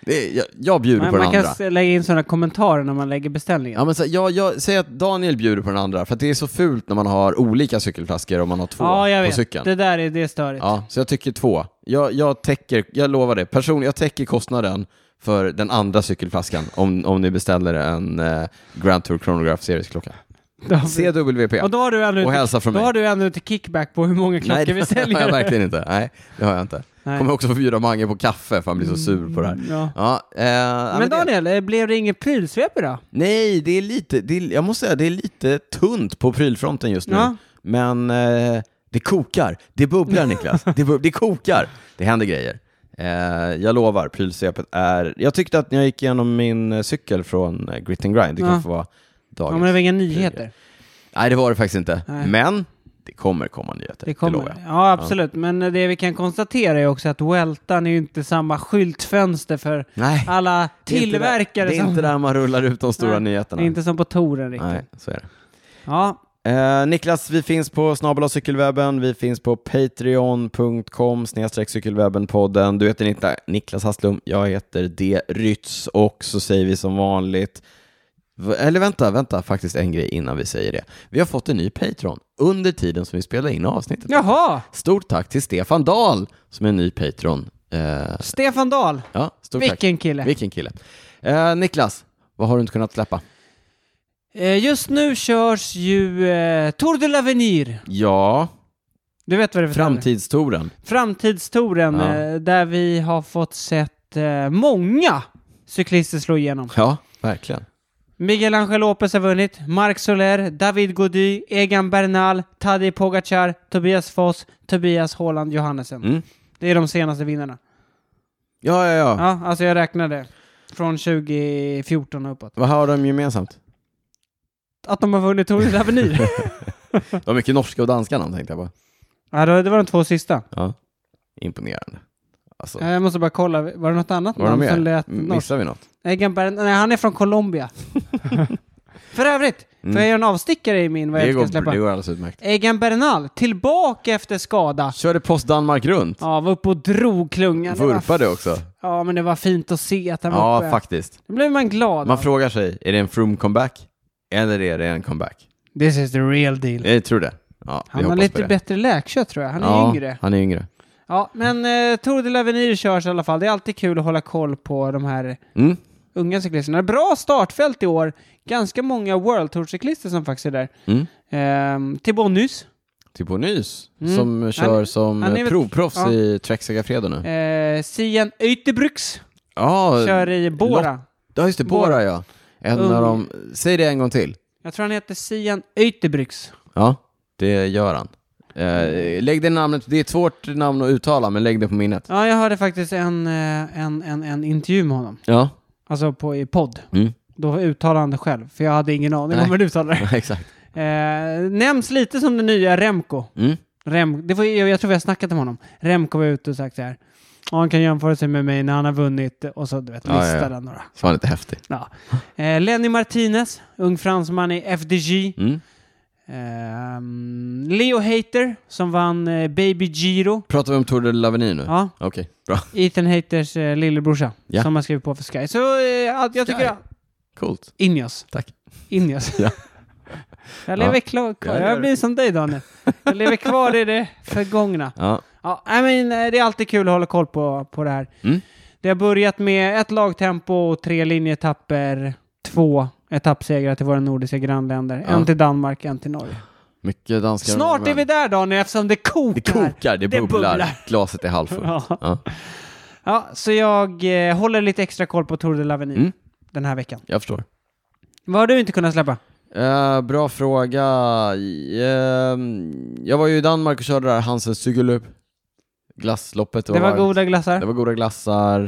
Det, jag, jag bjuder
Man,
på den
man kan
andra.
s- lägga in sådana kommentarer när man lägger beställningen.
Ja, men så, jag, jag, säg att Daniel bjuder på den andra, för att det är så fult när man har olika cykelflaskor om man har två
Ja, jag
på
vet.
cykeln.
Det där är, det är störigt.
Ja, så jag tycker två. Jag, jag täcker, jag lovar det, person, jag täcker kostnaden för den andra cykelflaskan om, om ni beställer en eh, Grand Tour Chronograph Series-klocka.
Då har vi-
CWP.
och då har du ännu
Och
inte-
hälsa från
Då
mig.
har du ännu inte kickback på hur många klockor
Nej, det
vi
har jag
säljer.
verkligen inte. Nej, det har jag inte.
Nej.
Kommer också få bjuda Mange på kaffe för han blir så sur på det här.
Ja.
Ja, eh, ja,
Men
det-
Daniel, eh, blev det inget prylsvep idag?
Nej, det är lite, det är, jag måste säga, det är lite tunt på prylfronten just nu.
Ja.
Men eh, det kokar, det bubblar Niklas, det, bub- det kokar, det händer grejer. Eh, jag lovar, prylsvepet är... Jag tyckte att när jag gick igenom min eh, cykel från eh, Grit and Grind, det kan
Ja.
få vara
Ja,
dagens.
men det var inga nyheter.
Nej, det var det faktiskt inte.
Nej.
Men det kommer komma nyheter,
Det
det,
kommer.
lovar jag.
ja, absolut. Men eh, det vi kan konstatera är också att Weltan är ju inte samma skyltfönster för
Nej,
alla
det är inte där-
tillverkare.
Det är inte
som,
där man rullar ut de stora
Nej,
nyheterna.
inte som på touren riktigt.
Nej, så är det.
Ja,
Eh, Niklas, vi finns på snabel cykelwebben, vi finns på patreon.com snedstreck cykelwebbenpodden. Du heter Nikla- Niklas Hasslum, jag heter D. Rytz och så säger vi som vanligt v- eller vänta, vänta, faktiskt en grej innan vi säger det. Vi har fått en ny Patreon under tiden som vi spelar in avsnittet.
jaha!
Stort tack till Stefan Dahl som är en ny Patreon. Eh,
Stefan Dahl.
ja, stort tack.
Vilken kille.
Vilken kille. Eh, Niklas, vad har du inte kunnat släppa?
Eh, Just nu körs ju eh, Tour de l'Avenir.
Ja,
Du vet vad det är för tävling?
framtidstouren.
Framtidstouren
Ja.
eh, där vi har fått sett eh, många cyklister slå igenom.
Ja, verkligen.
Miguel Angel Lopez har vunnit, Marc Soler, David Gody, Egan Bernal, Tadej Pogacar, Tobias Foss, Tobias Haaland Johannesen.
Mm.
Det är de senaste vinnarna.
Ja, ja, ja.
Ja, alltså jag räknade från 2014 och uppåt.
Vad har de gemensamt?
Att de har vunnit Tour de l'Avenir.
De har mycket norska och danska namn tänkte jag på.
ja, då- det var de två sista.
Ja. Imponerande. Alltså,
Jag måste bara kolla, var det något annat
var Mm, de
namn som
med?
lät
M-
norskt?
Missar vi något?
Egan Bernal, nej han är från Colombia. För övrigt, får jag göra en avstickare i min vad jag
Mm. Det
inte
går,
kan släppa?
det går alldeles utmärkt.
Egan Bernal, tillbaka efter skada.
Körde Post Danmark runt.
Ja, var uppe och drog klungan. Det var
Vurpade också.
Ja, men det var fint att se att han var
Ja,
uppe.
faktiskt.
Då blev man glad.
Man frågar sig, är det en from comeback? Eller är det en comeback?
This is the real deal.
Jag tror det. Ja, vi
Han har
hoppas på
lite
det.
bättre läkkött tror jag. Han är
ja,
yngre.
Han är yngre.
Ja, men eh, Tour de l'Avenir körs i alla fall. Det är alltid kul att hålla koll på de här
Mm.
unga cyklisterna. Bra startfält i år. Ganska många World Tour-cyklister som faktiskt är där.
Mm.
Ehm, Thibaut Nuss.
Typ Onys,
Mm.
som kör som
han är
eh,
väl-
provproffs
ja.
i Trek Segafredo nu.
Eh, Sian Yterbruks
Ja,
kör i Bora.
ja, just det, Bora ja. En
Ung.
av dem, säg det en gång till.
Jag tror han heter Sian Yterbruks.
Ja, det gör han. Eh, lägg det namnet, det är ett svårt namn att uttala, men lägg det på minnet.
Ja, jag hörde faktiskt en, eh, en, en, en intervju med honom.
Ja,
Alltså på, i podd.
mm.
Då uttalade han det själv, för jag hade ingen aning om
Nej.
hur du uttalade det.
exakt.
Eh, nämns lite som den nya Remco.
Mm.
Rem, det var, jag, jag tror vi har snackat om honom. Remco var ute och sagt så här. Ja, han kan jämföra sig med mig när han har vunnit och så du vet,
Ja, ja, ja.
listade han några.
Så var lite häftig.
Ja. Eh, Lenny Martinez, ung fransman i FDG.
Mm.
Ehm, Leo Hater, som vann eh, Baby Giro.
Pratar vi om Tour de l'Avenir nu?
Ja,
Okej, bra.
Ethan Haters eh, lillebrorsa,
Ja.
som har skrivit på för Sky. Så eh, allt- jag tycker...
Sky. Coolt.
Injos.
Tack.
Injos.
Ja.
Jag lever
Ja.
klar, kvar.
Ja, det gör
Jag blir som dig Daniel. Jag lever kvar i det förgångna.
Ja.
Ja, I mean, eh, det är alltid kul att hålla koll på, på det här.
Mm.
Det har börjat med ett lagtempo, tre linjetapper, två etappsegrar till våra nordiska grannländer.
Ja.
En till Danmark, en till Norge.
Mycket danskar och
Snart är
norrmän.
vi där Daniel eftersom det kokar.
Det kokar, det
Det
bubblar.
bubblar.
Glaset är halvfullt. Ja.
Ja.
Ja,
Ja, så jag eh, håller lite extra koll på Tour de l'Avenir
Mm.
den här veckan.
jag förstår.
Vad har du inte kunnat släppa?
Eh, bra fråga. Ehm, jag var ju i Danmark och körde där Hansen Cykelöp. Glassloppet.
Det var,
varmt.
goda glassar.
Det var goda glassar.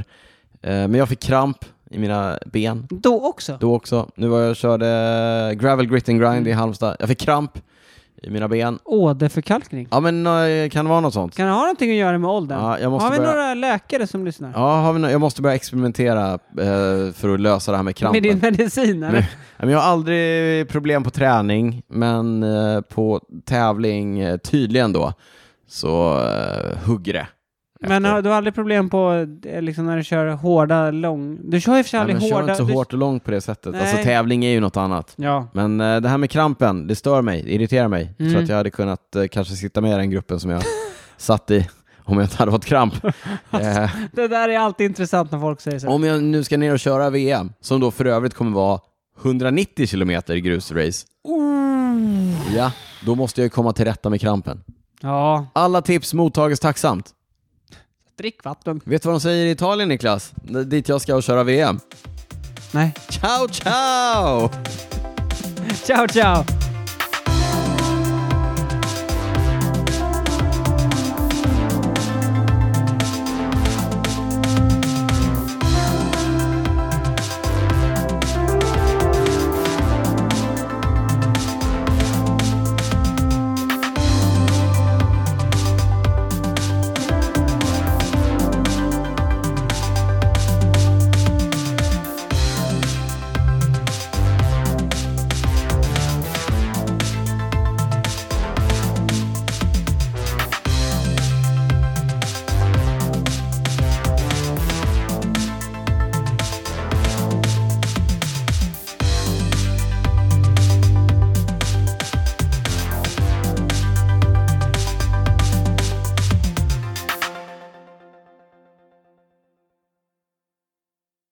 Eh, men jag fick kramp i mina ben.
Då också?
Då också. Nu var jag och körde Gravel Grit and Grind i Halmstad. Jag fick kramp i mina ben.
Åderförkalkning?
Ja men eh, kan det vara något sånt?
Kan det ha någonting att göra med åldern?
Ja, jag måste
har vi
börja...
några läkare som lyssnar?
Ja, har vi nå- jag måste börja experimentera eh, för att lösa det här med krampen.
med din medicin?
Men-
Eller?
Ja, men jag har aldrig problem på träning, men eh, på tävling eh, tydligen då så eh, hugger det.
Men har, du har aldrig problem på eh, liksom, när du kör hårda, lång... Du kör i och för sig
Nej,
aldrig
men kör
hårda...
inte så
du...
hårt och långt på det sättet.
Nej.
Alltså tävling är ju något annat.
Ja.
Men eh, det här med krampen, det stör mig, det irriterar mig. Jag
Mm.
tror att jag hade kunnat eh, kanske sitta med i den gruppen som jag satt i om jag inte hade fått kramp. Eh,
Det där är alltid intressant när folk säger så.
om jag nu ska ner och köra VM, som då för övrigt kommer vara 190 kilometer grusrace,
Oh.
ja, då måste jag ju komma till rätta med krampen.
Ja,
Alla tips mottages tacksamt.
drick vatten.
Vet du vad de säger i Italien Niklas? D- Dit jag ska och köra VM.
Nej.
Ciao ciao!
Ciao, ciao!